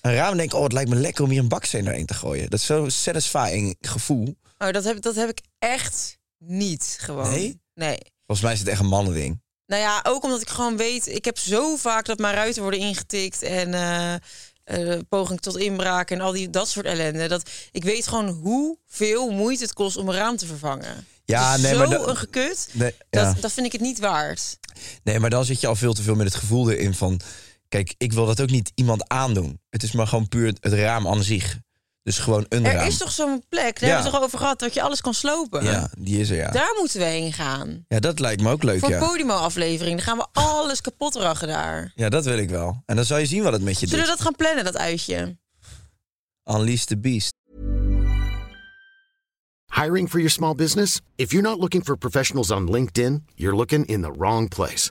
Speaker 6: een raam en denk... Oh, het lijkt me lekker om hier een baksteen doorheen te gooien. Dat is zo'n satisfying gevoel.
Speaker 5: Oh, dat heb, dat heb ik echt niet gewoon.
Speaker 6: Nee?
Speaker 5: Nee.
Speaker 6: Volgens mij is het echt een mannending.
Speaker 5: Nou ja, ook omdat ik gewoon weet, ik heb zo vaak dat mijn ruiten worden ingetikt en eh, eh, poging tot inbraak en al die dat soort ellende. Dat ik weet gewoon hoeveel moeite het kost om een raam te vervangen.
Speaker 6: Ja,
Speaker 5: Het is
Speaker 6: nee,
Speaker 5: zo
Speaker 6: maar dat-
Speaker 5: een gekut.
Speaker 6: Nee,
Speaker 5: dat,
Speaker 6: ja.
Speaker 5: dat vind ik het niet waard.
Speaker 6: Nee, maar dan zit je al veel te veel met het gevoel erin van... Kijk, ik wil dat ook niet iemand aandoen. Het is maar gewoon puur het raam aan zich. Dus gewoon een
Speaker 5: Er
Speaker 6: raam.
Speaker 5: is toch zo'n plek, daar
Speaker 6: Ja.
Speaker 5: hebben we het toch over gehad, dat je alles kan slopen.
Speaker 6: Ja, die is er, ja.
Speaker 5: Daar moeten we heen gaan.
Speaker 6: Ja, dat lijkt me ook leuk,
Speaker 5: Voor
Speaker 6: ja.
Speaker 5: Podimo-aflevering, dan gaan we alles kapot rachen daar.
Speaker 6: Ja, dat wil ik wel. En dan zal je zien wat het met je
Speaker 5: Zullen we
Speaker 6: doet.
Speaker 5: dat gaan plannen, dat uitje?
Speaker 6: Unleash the Beast.
Speaker 7: Hiring for your small business? If you're not looking for professionals on LinkedIn, you're looking in the wrong place.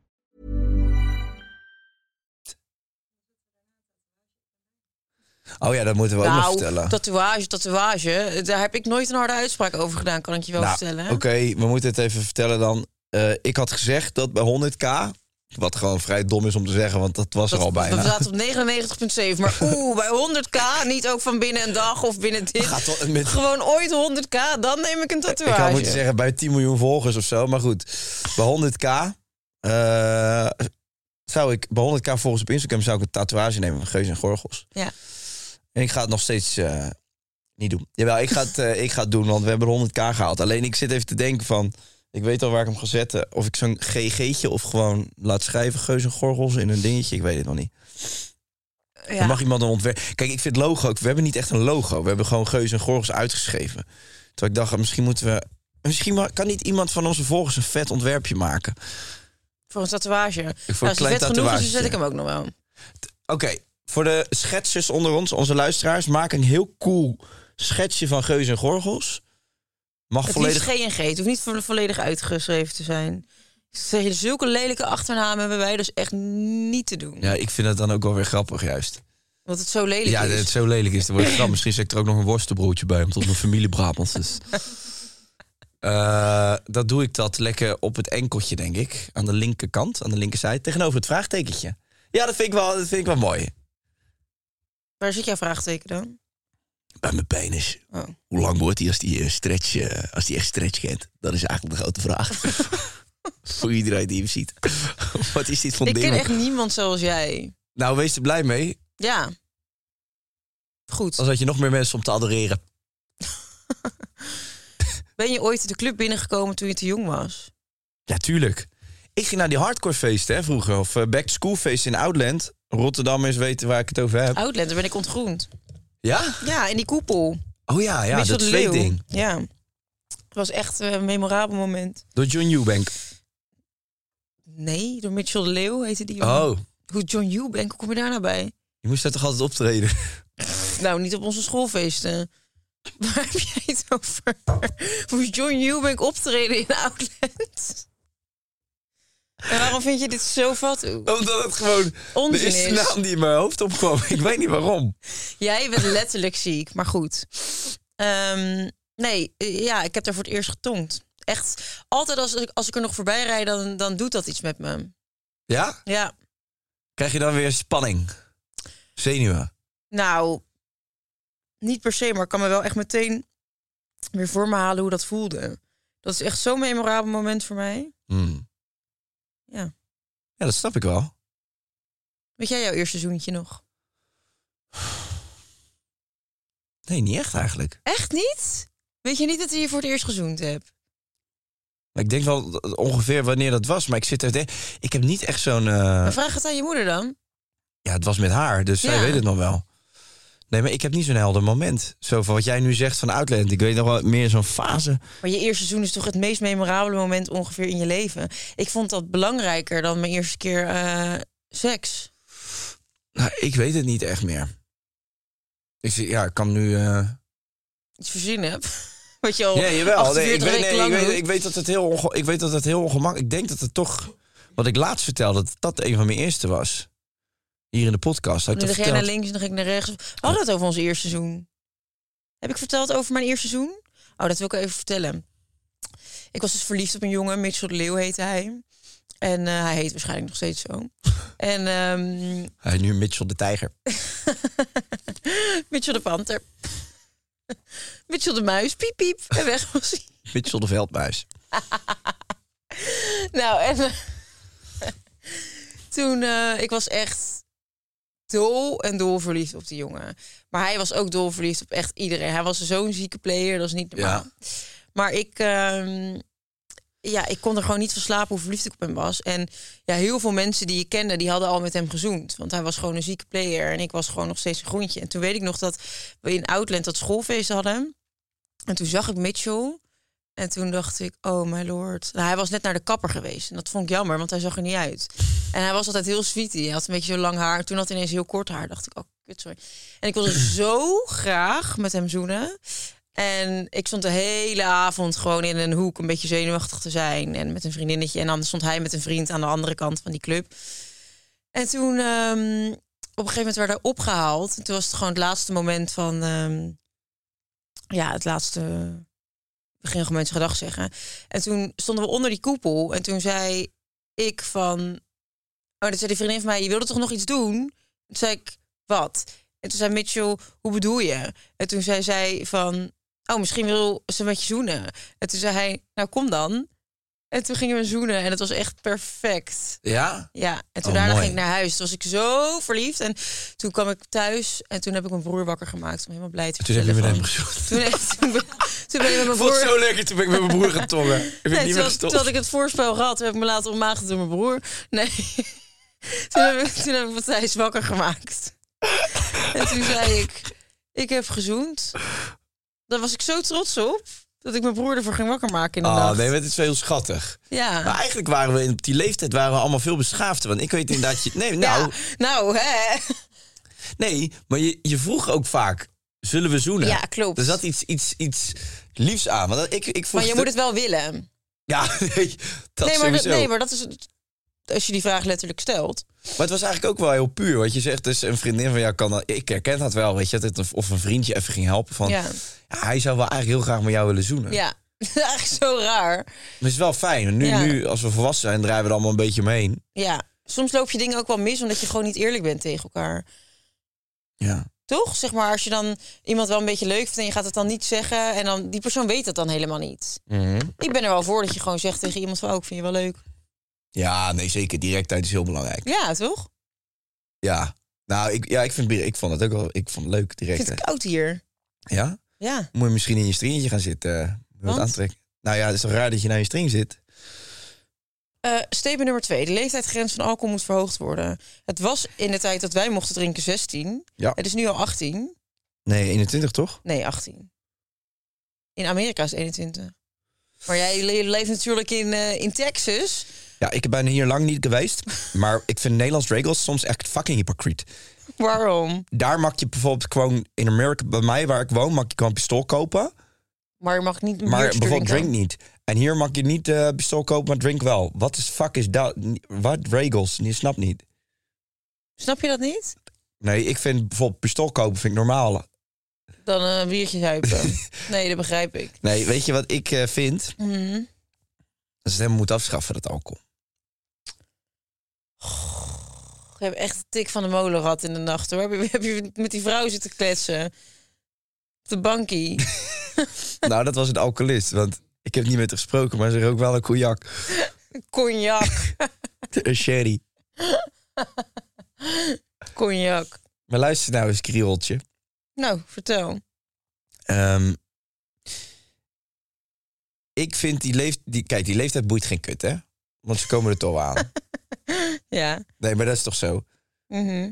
Speaker 6: Oh ja, dat moeten we ook nog
Speaker 5: nou,
Speaker 6: vertellen.
Speaker 5: tatoeage, tatoeage. Daar heb ik nooit een harde uitspraak over gedaan, kan ik je wel
Speaker 6: Nou,
Speaker 5: vertellen.
Speaker 6: Oké, we moeten het even vertellen dan. Eh, ik had gezegd dat bij 100k... Wat gewoon vrij dom is om te zeggen, want dat was er al bijna.
Speaker 5: We zaten op 99,7. Maar oeh, bij 100k, niet ook van binnen een dag of binnen dit.
Speaker 6: Gaat wel met-
Speaker 5: Gewoon ooit 100k, dan neem ik een
Speaker 6: Ik
Speaker 5: tatoeage.
Speaker 6: had moeten zeggen bij 10 miljoen volgers of zo. Maar goed, bij 100k... eh, zou ik bij 100k volgers op Instagram zou ik een tatoeage nemen van Geus en Gorgels.
Speaker 5: Ja.
Speaker 6: En ik ga het nog steeds eh, niet doen. Jawel, ik ga, het, eh, ik ga het doen, want we hebben 100k gehaald. Alleen ik zit even te denken van... Ik weet al waar ik hem ga zetten. Of ik zo'n GG'tje of gewoon laat schrijven... Geus en Gorgels in een dingetje. Ik weet het nog niet.
Speaker 5: ja.
Speaker 6: Dan mag iemand een ontwerp... Kijk, ik vind logo... ook- We hebben niet echt een logo. We hebben gewoon Geus en Gorgels uitgeschreven. Terwijl ik dacht, eh, misschien moeten we... Misschien ma- kan niet iemand van onze volgers een vet ontwerpje maken.
Speaker 5: Voor een tatoeage.
Speaker 6: een
Speaker 5: nou, als het
Speaker 6: klein
Speaker 5: vet genoeg is, dan
Speaker 6: tatoeage.
Speaker 5: zet ik hem ook nog wel.
Speaker 6: Oké, voor de schetsers onder ons, onze luisteraars... maak een heel cool schetsje van Geus en Gorgels. Mag
Speaker 5: Het
Speaker 6: volledig...
Speaker 5: liefst G&G. Het hoeft niet vo- volledig uitgeschreven te zijn. Zeg, Zulke lelijke achternamen hebben wij dus echt niet te doen.
Speaker 6: Ja, ik vind dat dan ook wel weer grappig juist.
Speaker 5: Wat het zo lelijk
Speaker 6: Ja, dat
Speaker 5: is.
Speaker 6: het zo lelijk is. Dan wordt het grap. Misschien zet ik er ook nog een worstenbroodje bij, omdat mijn familie Brabants is. Eh, dat doe ik dat lekker op het enkeltje, denk ik. Aan de linkerkant, aan de linkerzijde. Tegenover het vraagtekentje. Ja, dat vind ik wel, dat vind ik wel mooi.
Speaker 5: Waar zit jouw vraagteken dan?
Speaker 6: Bij mijn penis.
Speaker 5: Oh.
Speaker 6: Hoe lang wordt die als die, eh, stretch, eh, als die echt stretch kent? Dat is eigenlijk de grote vraag. Voor iedereen die hem ziet. Wat is dit voor
Speaker 5: Ik
Speaker 6: ding?
Speaker 5: ken echt niemand zoals jij.
Speaker 6: Nou, wees er blij mee.
Speaker 5: Ja. Goed.
Speaker 6: Dan zat je nog meer mensen om te adoreren.
Speaker 5: Ben je ooit de club binnengekomen toen je te jong was?
Speaker 6: Ja, tuurlijk. Ik ging naar die hardcore feesten hè, vroeger. Of eh, back to school feesten in Outland. Rotterdam is weten waar ik het over heb.
Speaker 5: Outland, daar ben ik ontgroend.
Speaker 6: Ja?
Speaker 5: Ja, in die koepel.
Speaker 6: Oh ja, ja
Speaker 5: Met
Speaker 6: dat
Speaker 5: zo'n leeuw.
Speaker 6: ding.
Speaker 5: Ja. Het was echt eh, een memorabel moment.
Speaker 6: Door John Eubank.
Speaker 5: Nee, door Mitchell de Leeuw heette die. jongen.
Speaker 6: Oh,
Speaker 5: Hoe John Eubank, hoe kom je daar nou bij?
Speaker 6: je moest daar toch altijd optreden?
Speaker 5: Nou, niet op onze schoolfeesten. Waar heb jij het over? Moest John Eubank optreden in Outland? En waarom vind je dit zo fatu?
Speaker 6: Omdat het gewoon
Speaker 5: Onzin
Speaker 6: de eerste
Speaker 5: is.
Speaker 6: naam die in mijn hoofd opkwam. Ik weet niet waarom.
Speaker 5: Jij bent letterlijk ziek, maar goed. Ehm, nee, eh, ja, ik heb daar voor het eerst getongd. Echt, altijd als ik, als ik er nog voorbij rijd, dan, dan doet dat iets met me.
Speaker 6: Ja?
Speaker 5: Ja,
Speaker 6: Krijg je dan weer spanning? Zenuwen.
Speaker 5: nou, niet per se, maar ik kan me wel echt meteen weer voor me halen hoe dat voelde. Dat is echt zo'n memorabel moment voor mij.
Speaker 6: Hmm.
Speaker 5: Ja.
Speaker 6: Ja, dat snap ik wel.
Speaker 5: Weet jij jouw eerste zoentje nog?
Speaker 6: Nee, niet echt eigenlijk.
Speaker 5: Echt niet? Weet je niet dat je voor het eerst gezoend hebt?
Speaker 6: Maar Ik denk wel ongeveer wanneer dat was. Maar ik zit er... Ik heb niet echt zo'n... eh,
Speaker 5: Maar vraag het aan je moeder dan.
Speaker 6: Ja, het was met haar, dus zij
Speaker 5: Ja.
Speaker 6: weet het nog wel. Nee, maar ik heb niet zo'n helder moment. Zo van wat jij nu zegt van Outland. Ik weet nog wel meer zo'n fase.
Speaker 5: Maar je eerste seizoen is toch het meest memorabele moment ongeveer in je leven. Ik vond dat belangrijker dan mijn eerste keer eh, seks.
Speaker 6: Nou, ik weet het niet echt meer. Ik, zie- ja, ik kan nu... eh,
Speaker 5: Iets voorzien heb. Wat je al
Speaker 6: Ja, jawel. Nee, ik,
Speaker 5: Oh, 48
Speaker 6: weet,
Speaker 5: weken
Speaker 6: nee, ik,
Speaker 5: lang
Speaker 6: weet,
Speaker 5: doet.
Speaker 6: ik weet dat het heel onge- ik weet dat het heel ongemakkelijk... Ik denk dat het toch... Wat ik laatst vertelde, dat dat een van mijn eerste was. Hier in de podcast. Had ik
Speaker 5: Dan ging
Speaker 6: dat
Speaker 5: jij naar
Speaker 6: verteld?
Speaker 5: links en dan ging ik naar rechts. We hadden het over ons eerste seizoen. Heb ik verteld over mijn eerste seizoen? Oh, dat wil ik even vertellen. Ik was dus verliefd op een jongen, Mitchell de Leeuw heette hij. En eh, hij heet waarschijnlijk nog steeds zo. En ehm,
Speaker 6: Hij is nu Mitchell de Tijger.
Speaker 5: Mitchell de Panter. Mitchell de Muis, piep piep. En weg was hij.
Speaker 6: Mitchell de Veldmuis.
Speaker 5: Nou, en eh, toen, eh, ik was echt dol en dol verliefd op die jongen. Maar hij was ook dol verliefd op echt iedereen. Hij was zo'n zieke player, dat is niet normaal. Maar ik, ehm, ja, ik kon er gewoon niet van slapen hoe verliefd ik op hem was. En ja, heel veel mensen die ik kende, die hadden al met hem gezoend. Want hij was gewoon een zieke player en ik was gewoon nog steeds een groentje. En toen weet ik nog dat we in Outland dat schoolfeest hadden. En toen zag ik Mitchell. En toen dacht ik, oh my lord. Nou, hij was net naar de kapper geweest. En dat vond ik jammer, want hij zag er niet uit. En hij was altijd heel sweetie. Hij had een beetje zo lang haar. En toen had hij ineens heel kort haar. Dacht ik, oh kut, sorry. En ik wilde zo graag met hem zoenen. En ik stond de hele avond gewoon in een hoek een beetje zenuwachtig te zijn. En met een vriendinnetje. En dan stond hij met een vriend aan de andere kant van die club. En toen ehm, op een gegeven moment werden we opgehaald. En toen was het gewoon het laatste moment van... ehm, ja, het laatste we gingen gewoon mensen gedag zeggen. En toen stonden we onder die koepel. En toen zei ik van... Oh, dat zei die vriendin van mij, je wilde toch nog iets doen? Toen zei ik, wat? En toen zei Mitchell, hoe bedoel je? En toen zei zij van... Oh, misschien wil ze met je zoenen. En toen zei hij, nou kom dan. En toen gingen we zoenen en het was echt perfect.
Speaker 6: Ja?
Speaker 5: Ja, en toen
Speaker 6: Oh,
Speaker 5: daarna
Speaker 6: mooi.
Speaker 5: ging ik naar huis. Toen was ik zo verliefd. En toen kwam ik thuis en toen heb ik mijn broer wakker gemaakt. Om helemaal blij te
Speaker 6: Toen heb je met
Speaker 5: vertellen
Speaker 6: hem
Speaker 5: van-
Speaker 6: gezocht.
Speaker 5: Toen, toen, ben- toen ben ik met mijn
Speaker 6: Ik vond het
Speaker 5: broer...
Speaker 6: zo lekker, toen ben ik met mijn broer gaan tongen. Ik
Speaker 5: Nee,
Speaker 6: ben niet
Speaker 5: toen,
Speaker 6: meer
Speaker 5: had,
Speaker 6: gestopt.
Speaker 5: toen had ik het voorspel gehad, toen heb ik me laten ontmaagden door mijn broer. Nee. toen, heb ik, toen heb ik Matthijs wakker gemaakt. En toen zei ik, ik heb gezoend. Daar was ik zo trots op, dat ik mijn broer ervoor ging wakker maken in de
Speaker 6: Ah,
Speaker 5: nacht.
Speaker 6: nee, maar het is wel heel schattig.
Speaker 5: Ja.
Speaker 6: Maar eigenlijk waren we in- op die leeftijd waren we allemaal veel beschaafder. Want ik weet inderdaad... Je, nee, nou,
Speaker 5: ja, nou, hè.
Speaker 6: nee, maar je, je vroeg ook vaak... Zullen we zoenen?
Speaker 5: Ja, klopt.
Speaker 6: Er zat iets, iets, iets liefs aan. Want ik, ik vroeg
Speaker 5: Maar je
Speaker 6: het
Speaker 5: moet
Speaker 6: ook-
Speaker 5: het wel willen.
Speaker 6: Ja, nee, dat
Speaker 5: nee, maar dat,
Speaker 6: sowieso.
Speaker 5: nee, maar dat is... Als je die vraag letterlijk stelt.
Speaker 6: Maar het was eigenlijk ook wel heel puur. Wat je zegt, dus een vriendin van jou kan... dat- Ik herken dat wel, weet je. Dat het, of een vriendje even ging helpen van...
Speaker 5: Ja.
Speaker 6: "Ja, hij zou wel eigenlijk heel graag met jou willen zoenen.
Speaker 5: Ja, eigenlijk zo raar.
Speaker 6: Maar het is wel fijn. Nu,
Speaker 5: Ja.
Speaker 6: nu, als we volwassen zijn, draaien we er allemaal een beetje omheen.
Speaker 5: Ja, soms loop je dingen ook wel mis omdat je gewoon niet eerlijk bent tegen elkaar.
Speaker 6: Ja.
Speaker 5: Toch? Zeg maar, als je dan iemand wel een beetje leuk vindt en je gaat het dan niet zeggen... en dan, die persoon weet dat dan helemaal niet.
Speaker 6: Mhm.
Speaker 5: Ik ben er wel voor dat je gewoon zegt tegen iemand van... oh, ik vind je wel leuk.
Speaker 6: Ja, nee, zeker. Directheid is heel belangrijk.
Speaker 5: Ja, toch?
Speaker 6: Ja. Nou, ik, ja, ik, vind, bier- ik vond het ook wel ik vond het leuk,
Speaker 5: Ik vind
Speaker 6: direct.
Speaker 5: het koud hier.
Speaker 6: Ja?
Speaker 5: Ja.
Speaker 6: Moet je misschien in je stringetje gaan zitten. eh, Wat
Speaker 5: Want?
Speaker 6: aantrekken. Nou ja, het is toch raar dat je naar je string zit?
Speaker 5: Eh statement nummer twee. De leeftijdsgrens van alcohol moet verhoogd worden. Het was in de tijd dat wij mochten drinken 16.
Speaker 6: Ja.
Speaker 5: Het is nu al 18.
Speaker 6: Nee, 21 toch?
Speaker 5: Nee, 18. In Amerika is het 21. Maar jij le- leeft natuurlijk in, eh, in Texas.
Speaker 6: Ja, ik ben hier lang niet geweest. Maar ik vind Nederlands regels soms echt fucking hypocriet.
Speaker 5: Waarom?
Speaker 6: Daar mag je bijvoorbeeld gewoon... In Amerika, bij mij waar ik woon, mag je gewoon pistool kopen.
Speaker 5: Maar je mag niet een
Speaker 6: Maar
Speaker 5: biertje
Speaker 6: bijvoorbeeld drink
Speaker 5: drinken.
Speaker 6: niet. En hier mag je niet eh pistool kopen, maar drink wel. Wat is fuck is dat? Wat regels? Je snapt niet.
Speaker 5: Snap je dat niet?
Speaker 6: Nee, ik vind bijvoorbeeld pistool kopen vind ik normaal.
Speaker 5: Dan eh, een biertje zuipen. nee, dat begrijp ik.
Speaker 6: Nee, weet je wat ik eh, vind? Dat
Speaker 5: Mhm.
Speaker 6: ze het helemaal moeten afschaffen, dat alcohol.
Speaker 5: Je hebt echt een tik van de molenrad in de nacht. Hoor. Heb, je, heb je met die vrouw zitten kletsen? Op de bankie.
Speaker 6: nou, dat was een alcoholist, want ik heb niet met haar gesproken, maar ze rook wel een cognac.
Speaker 5: Cognac.
Speaker 6: Een sherry.
Speaker 5: Cognac.
Speaker 6: Maar luister nou eens, krioeltje.
Speaker 5: Nou, vertel.
Speaker 6: Ehm, ik vind die leeftijd... Die, kijk, die leeftijd boeit geen kut, hè? Want ze komen er toch aan.
Speaker 5: Ja.
Speaker 6: Nee, maar dat is toch zo?
Speaker 5: Mhm.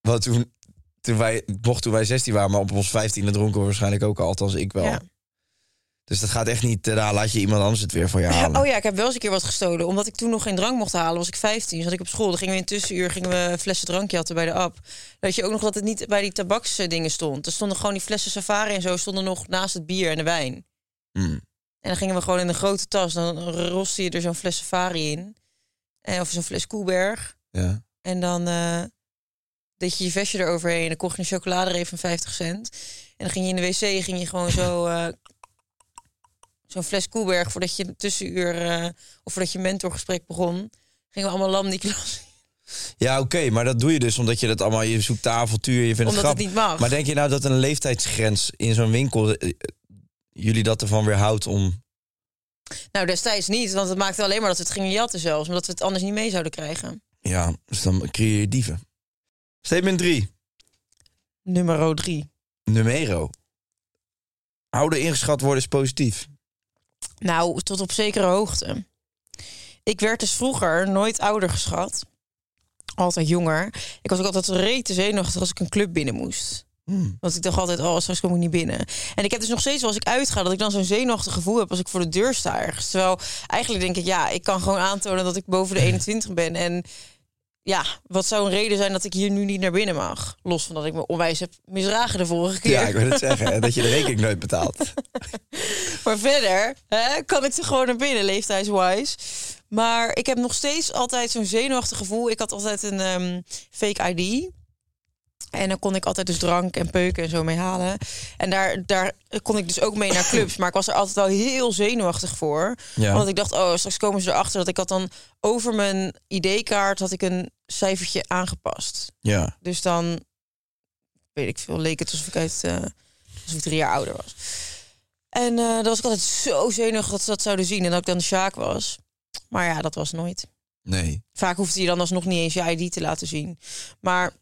Speaker 6: Want toen, toen wij, mocht toen wij 16 waren, maar op ons 15e dronken we waarschijnlijk ook al, althans ik wel.
Speaker 5: Ja.
Speaker 6: Dus dat gaat echt niet, eh, nou, laat je iemand anders het weer voor je halen.
Speaker 5: Oh ja, ik heb wel eens een keer wat gestolen. Omdat ik toen nog geen drank mocht halen, was ik 15. Zat ik op school. Dan gingen we in het tussenuur gingen we flessen drankje jatten bij de app. Dat je ook nog dat het niet bij die tabaksdingen stond. Er stonden gewoon die flessen safari en zo stonden nog naast het bier en de wijn.
Speaker 6: Hmm.
Speaker 5: En dan gingen we gewoon in een grote tas. Dan roste je er zo'n fles safari in. Eh, Of zo'n fles Koeberg.
Speaker 6: Ja.
Speaker 5: En dan eh deed je je vestje eroverheen. En dan kocht je een chocoladereep van 50 cent. En dan ging je in de wc en ging je gewoon zo... eh, zo'n fles Koeberg voordat je een tussenuur... eh, of voordat je mentorgesprek begon. Gingen we allemaal lam die klas.
Speaker 6: Ja, oké, maar dat doe je dus omdat je dat allemaal, je zoekt avontuur, je vindt
Speaker 5: Omdat het
Speaker 6: het grappig.
Speaker 5: niet mag.
Speaker 6: Maar denk je nou dat een leeftijdsgrens in zo'n winkel eh, eh, jullie dat ervan weerhoudt om...
Speaker 5: Nou, destijds niet. Want het maakte alleen maar dat we het gingen jatten zelfs. Omdat we het anders niet mee zouden krijgen.
Speaker 6: Ja, dus dan creëer je dieven. Statement 3.
Speaker 5: Nummer drie.
Speaker 6: Numero. Ouder ingeschat worden is positief.
Speaker 5: Nou, tot op zekere hoogte. Ik werd dus vroeger nooit ouder geschat. Altijd jonger. Ik was ook altijd rete zenuwachtig als ik een club binnen moest. Want ik dacht altijd, oh, straks kom ik niet binnen. En ik heb dus nog steeds, als ik uitga, dat ik dan zo'n zenuwachtig gevoel heb als ik voor de deur sta ergens. Terwijl eigenlijk denk ik, ja, ik kan gewoon aantonen dat ik boven de 21 ben. En ja, wat zou een reden zijn dat ik hier nu niet naar binnen mag? Los van dat ik me onwijs heb misdragen de vorige keer.
Speaker 6: Ja, ik wil het zeggen, hè, dat je de rekening nooit betaalt.
Speaker 5: Maar verder hè, kan ik ze gewoon naar binnen, leeftijdswise. Maar ik heb nog steeds altijd zo'n zenuwachtig gevoel. Ik had altijd een ehm, fake ID. En dan kon ik altijd dus drank en peuken en zo mee halen. En daar, daar kon ik dus ook mee naar clubs. Maar ik was er altijd wel heel zenuwachtig voor.
Speaker 6: Ja.
Speaker 5: Omdat ik dacht, oh, straks komen ze erachter. Dat ik had dan over mijn ID-kaart had ik een cijfertje aangepast.
Speaker 6: Ja.
Speaker 5: Dus dan, weet ik veel, leek het alsof ik, uit, eh, alsof ik drie jaar ouder was. En eh dan was ik altijd zo zenuwachtig dat ze dat zouden zien. En dat ik dan de Sjaak was. Maar ja, dat was nooit.
Speaker 6: Nee.
Speaker 5: Vaak hoefde je dan alsnog niet eens je ID te laten zien. Maar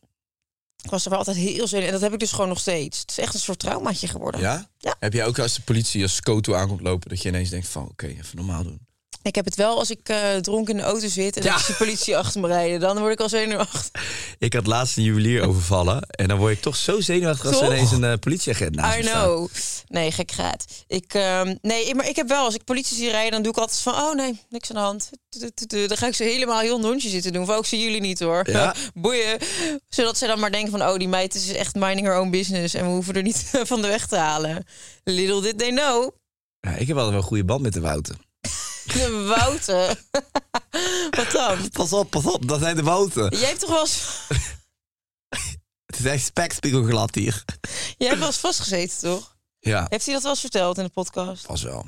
Speaker 5: ik was er wel altijd heel zenuwachtig. En dat heb ik dus gewoon nog steeds. Het is echt een soort traumaatje geworden.
Speaker 6: Ja?
Speaker 5: Ja.
Speaker 6: Heb jij ook als de politie als Scoto aankomt lopen... dat je ineens denkt van, oké, even normaal doen.
Speaker 5: Ik heb het wel als ik eh, dronken in de auto zit en
Speaker 6: Ja.
Speaker 5: dan is de politie achter me rijden. Dan word ik al zenuwachtig.
Speaker 6: Ik had laatst een juwelier overvallen... en dan word ik toch zo zenuwachtig als er
Speaker 5: Toch?
Speaker 6: ineens een eh, politieagent naast
Speaker 5: I
Speaker 6: me staat.
Speaker 5: know. Nee, gek gaat. Ik, ehm, nee, maar ik heb wel, als ik politie zie rijden, dan doe ik altijd van, oh nee, niks aan de hand. Tu-tu-tu-tu. Dan ga ik ze helemaal heel nonchalant zitten doen. Van, ook zien jullie niet hoor.
Speaker 6: Ja.
Speaker 5: Boeien. Zodat ze dan maar denken van, oh die meid is echt minding her own business. En we hoeven er niet van de weg te halen. Little did they know.
Speaker 6: Ja, ik heb altijd wel een goede band met de Wouter.
Speaker 5: De Wouter. Wat dan?
Speaker 6: Pas op, pas op, dat zijn de boten.
Speaker 5: Jij hebt toch wel eens,
Speaker 6: Het is echt spekspiegelglad hier.
Speaker 5: jij hebt wel eens vastgezeten, toch?
Speaker 6: Ja,
Speaker 5: Heeft hij dat wel eens verteld in de podcast?
Speaker 6: pas wel.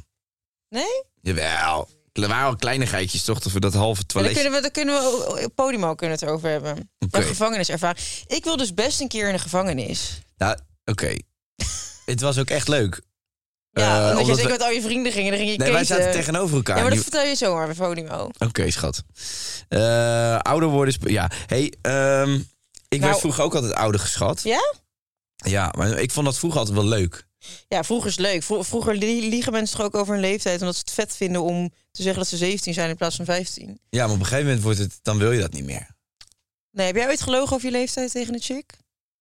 Speaker 5: Nee?
Speaker 6: Jawel. Er waren al kleinigheidjes toch, dat we dat halve
Speaker 5: Maar dan
Speaker 6: toilet...
Speaker 5: kunnen we, dan kunnen we op Podimo kunnen we het over hebben.
Speaker 6: Oké.
Speaker 5: Een gevangeniservaring. Ik wil dus best een keer in de gevangenis.
Speaker 6: Nou, oké. het was ook echt leuk.
Speaker 5: Ja,
Speaker 6: Eh,
Speaker 5: omdat je
Speaker 6: omdat
Speaker 5: zeker
Speaker 6: we-
Speaker 5: met al je vrienden ging en dan ging je
Speaker 6: Nee, wij
Speaker 5: keten.
Speaker 6: zaten tegenover elkaar.
Speaker 5: Ja, maar dat
Speaker 6: Die-
Speaker 5: vertel je zomaar bij Podimo.
Speaker 6: Oké, schat. Eh, ouder worden is... Ja, hey, ehm, ik
Speaker 5: Nou-
Speaker 6: werd vroeger ook altijd ouder geschat. Ja.
Speaker 5: Ja?
Speaker 6: maar ik vond dat vroeger altijd wel leuk.
Speaker 5: Ja, vroeger is leuk. Vro- Vroeger li- liegen mensen toch ook over hun leeftijd... omdat ze het vet vinden om te zeggen dat ze 17 zijn in plaats van 15.
Speaker 6: Ja, maar op een gegeven moment wordt het... Dan wil je dat niet meer.
Speaker 5: Nee, heb jij ooit gelogen over je leeftijd tegen een chick?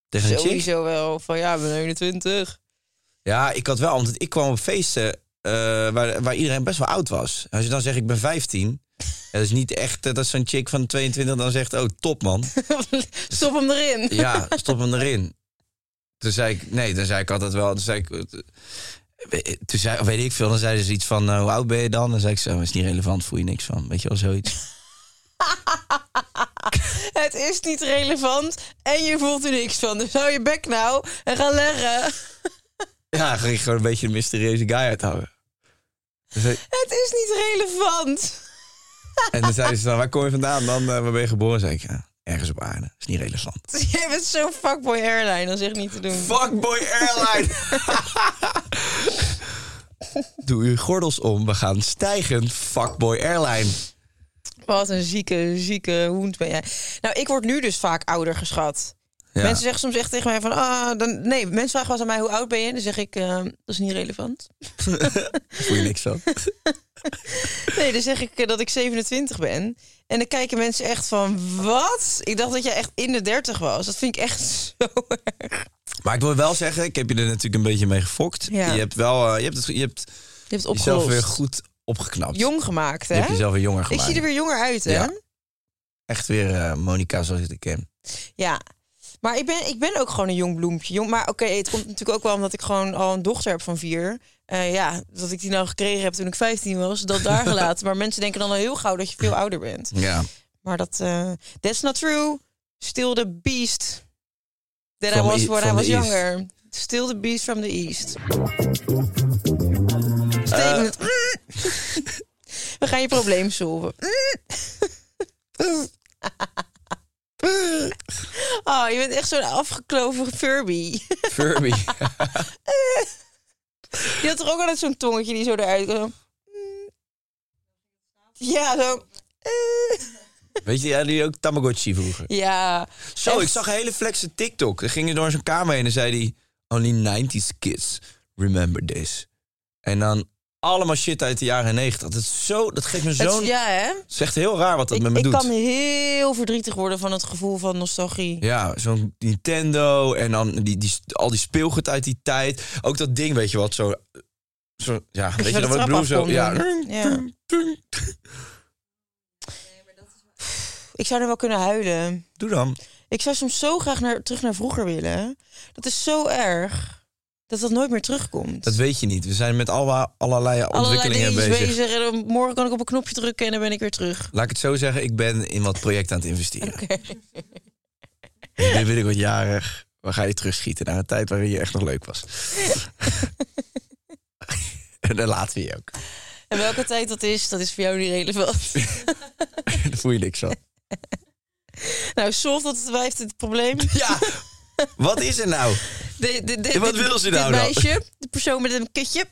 Speaker 6: Tegen een chick?
Speaker 5: Sowieso wel. Van ja, ik ben 21.
Speaker 6: Ja, ik had wel, want ik kwam op feesten eh, waar, waar iedereen best wel oud was. Als je dan zegt, ik ben 15, dat is niet echt eh, dat zo'n chick van 22 dan zegt, oh, top man.
Speaker 5: Stop hem erin.
Speaker 6: Ja, stop hem erin. Toen zei ik, nee, dan zei ik altijd wel, toen zei ik, eh, toen zei, weet ik veel, dan zeiden ze iets van, eh, hoe oud ben je dan? Dan zei ik zo, is niet relevant, voel je niks van, weet je wel, zoiets.
Speaker 5: Het is niet relevant en je voelt er niks van. Dus hou je bek nou en ga leggen.
Speaker 6: Ja, dan ging ik gewoon een beetje een mysterieuze guy uithouden. Dan zei-
Speaker 5: Het is niet relevant.
Speaker 6: En dan zeiden ze dan, waar kom je vandaan dan, eh, waar ben je geboren? zei ik, ja, ergens op aarde, is niet relevant.
Speaker 5: Jij bent zo'n fuckboy airline, dat is echt niet te doen.
Speaker 6: Fuckboy Airline. Doe uw gordels om, we gaan stijgen. Fuckboy Airline.
Speaker 5: Wat een zieke, zieke hoend ben jij. Nou, ik word nu dus vaak ouder geschat.
Speaker 6: Ja.
Speaker 5: Mensen zeggen soms echt tegen mij van... Ah, dan, nee, mensen vragen wel eens aan mij hoe oud ben je? En dan zeg ik, eh, dat is niet relevant.
Speaker 6: Voel je niks van?
Speaker 5: Nee, dan zeg ik eh, dat ik 27 ben. En dan kijken mensen echt van, wat? Ik dacht dat jij echt in de 30 was. Dat vind ik echt zo erg.
Speaker 6: Maar ik wil wel zeggen, ik heb je er natuurlijk een beetje mee gefokt.
Speaker 5: Ja.
Speaker 6: Je hebt wel, eh, je hebt, het, je hebt
Speaker 5: Je hebt het
Speaker 6: jezelf
Speaker 5: opgelost.
Speaker 6: weer goed opgeknapt.
Speaker 5: Jong gemaakt,
Speaker 6: je
Speaker 5: hè?
Speaker 6: hebt jezelf weer jonger
Speaker 5: ik
Speaker 6: gemaakt.
Speaker 5: zie er weer jonger uit, hè?
Speaker 6: Ja. Echt weer eh, Monica zoals ik het ken.
Speaker 5: Ja. Maar ik ben, ik ben ook gewoon een jong bloempje. Jong, maar oké, het komt natuurlijk ook wel omdat ik gewoon al een dochter heb van vier. Eh, ja, dat ik die nou gekregen heb toen ik 15 was, dat daar gelaten. maar mensen denken dan al heel gauw dat je veel ouder bent.
Speaker 6: Ja.
Speaker 5: Maar dat, eh, that's not true. Still the beast. That I
Speaker 6: From
Speaker 5: was
Speaker 6: the-
Speaker 5: when I
Speaker 6: from
Speaker 5: was
Speaker 6: the east.
Speaker 5: younger. Still the beast from the east.
Speaker 6: Eh.
Speaker 5: Statement. We gaan je probleem solven. Oh, je bent echt zo'n afgekloven Furby.
Speaker 6: Furby.
Speaker 5: Je had toch ook altijd zo'n tongetje die zo eruit kwam? Ja, zo.
Speaker 6: Weet je, jullie ook Tamagotchi vroeger?
Speaker 5: Ja.
Speaker 6: Zo,
Speaker 5: Echt.
Speaker 6: ik zag een hele flexe TikTok. Dan ging je door zijn kamer heen en zei hij... Only 90s kids remember this. En dan allemaal shit uit de jaren 90. Dat, is zo, dat geeft me
Speaker 5: Het-
Speaker 6: zo'n...
Speaker 5: ja, hè?
Speaker 6: Het is echt heel raar wat dat
Speaker 5: Ik,
Speaker 6: met me
Speaker 5: ik
Speaker 6: doet.
Speaker 5: kan heel verdrietig worden van het gevoel van nostalgie.
Speaker 6: Ja, zo'n Nintendo en dan die, die, al die speelgoed uit die tijd. Ook dat ding, weet je wat, zo... zo ja, weet je
Speaker 5: de
Speaker 6: dan wat ik
Speaker 5: trap
Speaker 6: bedoel?
Speaker 5: af
Speaker 6: Zo,
Speaker 5: kon
Speaker 6: ja.
Speaker 5: doen. Ja. Ik zou nu wel kunnen huilen.
Speaker 6: Doe dan.
Speaker 5: Ik zou soms zo graag naar, terug naar vroeger willen. Dat is zo erg dat dat nooit meer terugkomt.
Speaker 6: Dat weet je niet. We zijn met alle, allerlei
Speaker 5: Allerlei
Speaker 6: ontwikkelingen
Speaker 5: dingetjes bezig.
Speaker 6: bezig.
Speaker 5: en dan morgen kan ik op een knopje drukken en dan ben ik weer terug.
Speaker 6: Laat ik het zo zeggen, ik ben in wat projecten aan het investeren.
Speaker 5: Oké.
Speaker 6: Nu ben ik wat jarig. Waar ga je terugschieten naar een tijd waarin je echt nog leuk was? en dan laten we je ook.
Speaker 5: En welke tijd dat is, dat is voor jou niet relevant.
Speaker 6: Daar voel je niks van.
Speaker 5: nou, solve dat het wijft het probleem.
Speaker 6: Ja, wat is er nou?
Speaker 5: De, de, de,
Speaker 6: En wat
Speaker 5: dit-
Speaker 6: wil ze
Speaker 5: dit
Speaker 6: nou dan?
Speaker 5: meisje, de persoon met een kutje.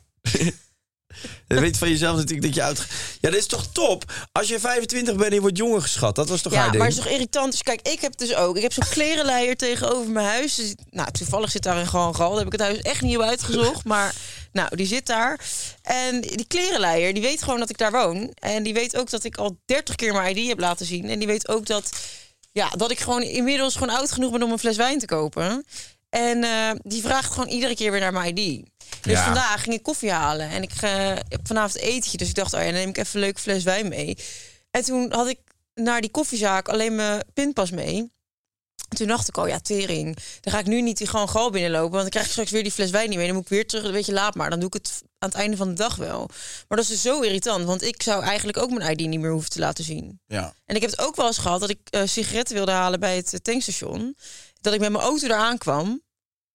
Speaker 6: Je weet van jezelf natuurlijk dat je oud... Ja, dat is toch top? Als je 25 bent en je wordt jonger geschat. Dat was toch
Speaker 5: Ja,
Speaker 6: haar
Speaker 5: maar
Speaker 6: ding?
Speaker 5: het is toch irritant. Dus kijk, ik heb het dus ook. Ik heb zo'n klerenleier tegenover mijn huis. Dus, nou, toevallig zit daar een gewoon gal. Daar heb ik het huis echt niet op uitgezocht. Maar nou, die zit daar. En die klerenleier, die weet gewoon dat ik daar woon. En die weet ook dat ik al 30 keer mijn ID heb laten zien. En die weet ook dat, ja, dat ik gewoon inmiddels gewoon oud genoeg ben om een fles wijn te kopen. En eh, die vraagt gewoon iedere keer weer naar mijn ID. Dus
Speaker 6: Ja.
Speaker 5: vandaag ging ik koffie halen en ik eh, heb vanavond etentje. Dus ik dacht, oh ja, dan neem ik even een leuke fles wijn mee. En toen had ik naar die koffiezaak alleen mijn pinpas mee. Toen dacht ik al, ja, tering. Dan ga ik nu niet die gewoon gal binnenlopen. Want dan krijg ik straks weer die fles wijn niet meer. Dan moet ik weer terug, weet je, laat maar. Dan doe ik het aan het einde van de dag wel. Maar dat is dus zo irritant. Want ik zou eigenlijk ook mijn ID niet meer hoeven te laten zien.
Speaker 6: Ja.
Speaker 5: En ik heb het ook wel eens gehad dat ik eh, sigaretten wilde halen bij het eh, tankstation. Dat ik met mijn auto eraan kwam.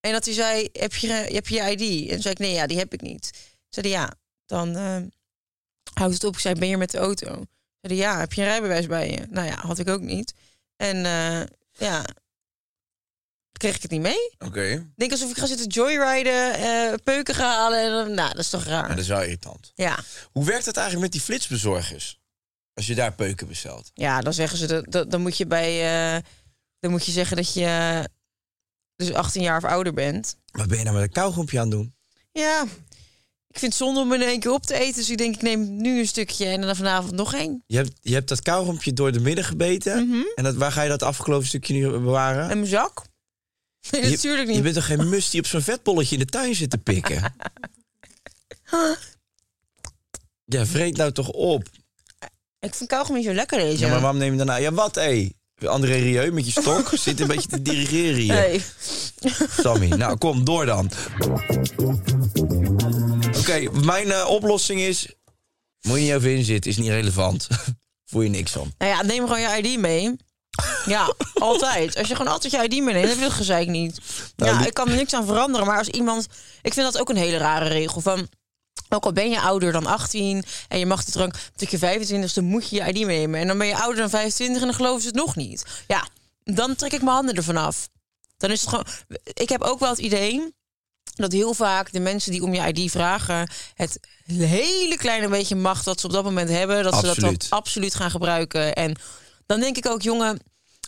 Speaker 5: En dat hij zei, heb je, eh, heb je je ID? En toen zei ik, nee, ja, die heb ik niet. Toen zei hij, ja, dan eh houd het op. Ik zei, ben je met de auto? Toen zei hij, ja, heb je een rijbewijs bij je? Nou ja, had ik ook niet. En eh, ja, kreeg ik het niet mee.
Speaker 6: Oké.
Speaker 5: Ik Denk alsof ik ga zitten joyriden, eh, peuken gaan halen. En, dan- nou, dat is toch
Speaker 6: Maar dat
Speaker 5: raar.
Speaker 6: is wel irritant.
Speaker 5: Ja.
Speaker 6: Hoe werkt het eigenlijk met die flitsbezorgers? Als je daar peuken bestelt.
Speaker 5: Ja, dan zeggen ze dat, dat dan moet je bij eh, dan moet je zeggen dat je eh, dus 18 jaar of ouder bent.
Speaker 6: Wat ben je nou met een kauwgompje aan het doen?
Speaker 5: Ja, ik vind het zonde om in één keer op te eten. Dus ik denk, ik neem nu een stukje en dan vanavond nog één.
Speaker 6: Je hebt, je hebt dat kauwgompje door de midden gebeten.
Speaker 5: Mhm.
Speaker 6: En dat, waar ga je dat afgelopen stukje nu bewaren?
Speaker 5: En mijn zak? Nee,
Speaker 6: Je-
Speaker 5: natuurlijk niet.
Speaker 6: Je bent toch geen mus die op zo'n vetbolletje in de tuin zit te pikken? ja, vreet nou toch op.
Speaker 5: Ik vind kauwgom niet zo lekker deze.
Speaker 6: Ja, maar waarom neem je daarna? Ja, wat, hé? André Rieu met je stok zit een beetje te dirigeren hier.
Speaker 5: Nee.
Speaker 6: Sammy, nou kom, door dan. Oké, mijn eh, oplossing is... Moet je niet over inzitten, is niet relevant. Voel je niks van.
Speaker 5: Nou ja, neem gewoon je ID mee. Ja, altijd. Als je gewoon altijd je ID meeneemt, heb je dat gezeik dus niet.
Speaker 6: Nou,
Speaker 5: ja,
Speaker 6: die-
Speaker 5: ik kan er niks aan veranderen. Maar als iemand... Ik vind dat ook een hele rare regel. Van, ook al ben je ouder dan 18 en je mag de drank tot je 25ste, moet je je ID meenemen. En dan ben je ouder dan 25 en dan geloven ze het nog niet. Ja, dan trek ik mijn handen ervan af. Dan is het gewoon... Ik heb ook wel het idee dat heel vaak de mensen die om je ID vragen... het hele kleine beetje macht dat ze op dat moment hebben... dat ze dat
Speaker 6: Absoluut.
Speaker 5: dan absoluut gaan gebruiken. En dan denk ik ook, jongen...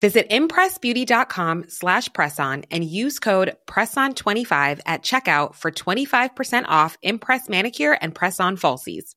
Speaker 8: Visit impressbeauty.com slash presson and use code presson25 at checkout for 25% off Impress Manicure and Press On Falsies.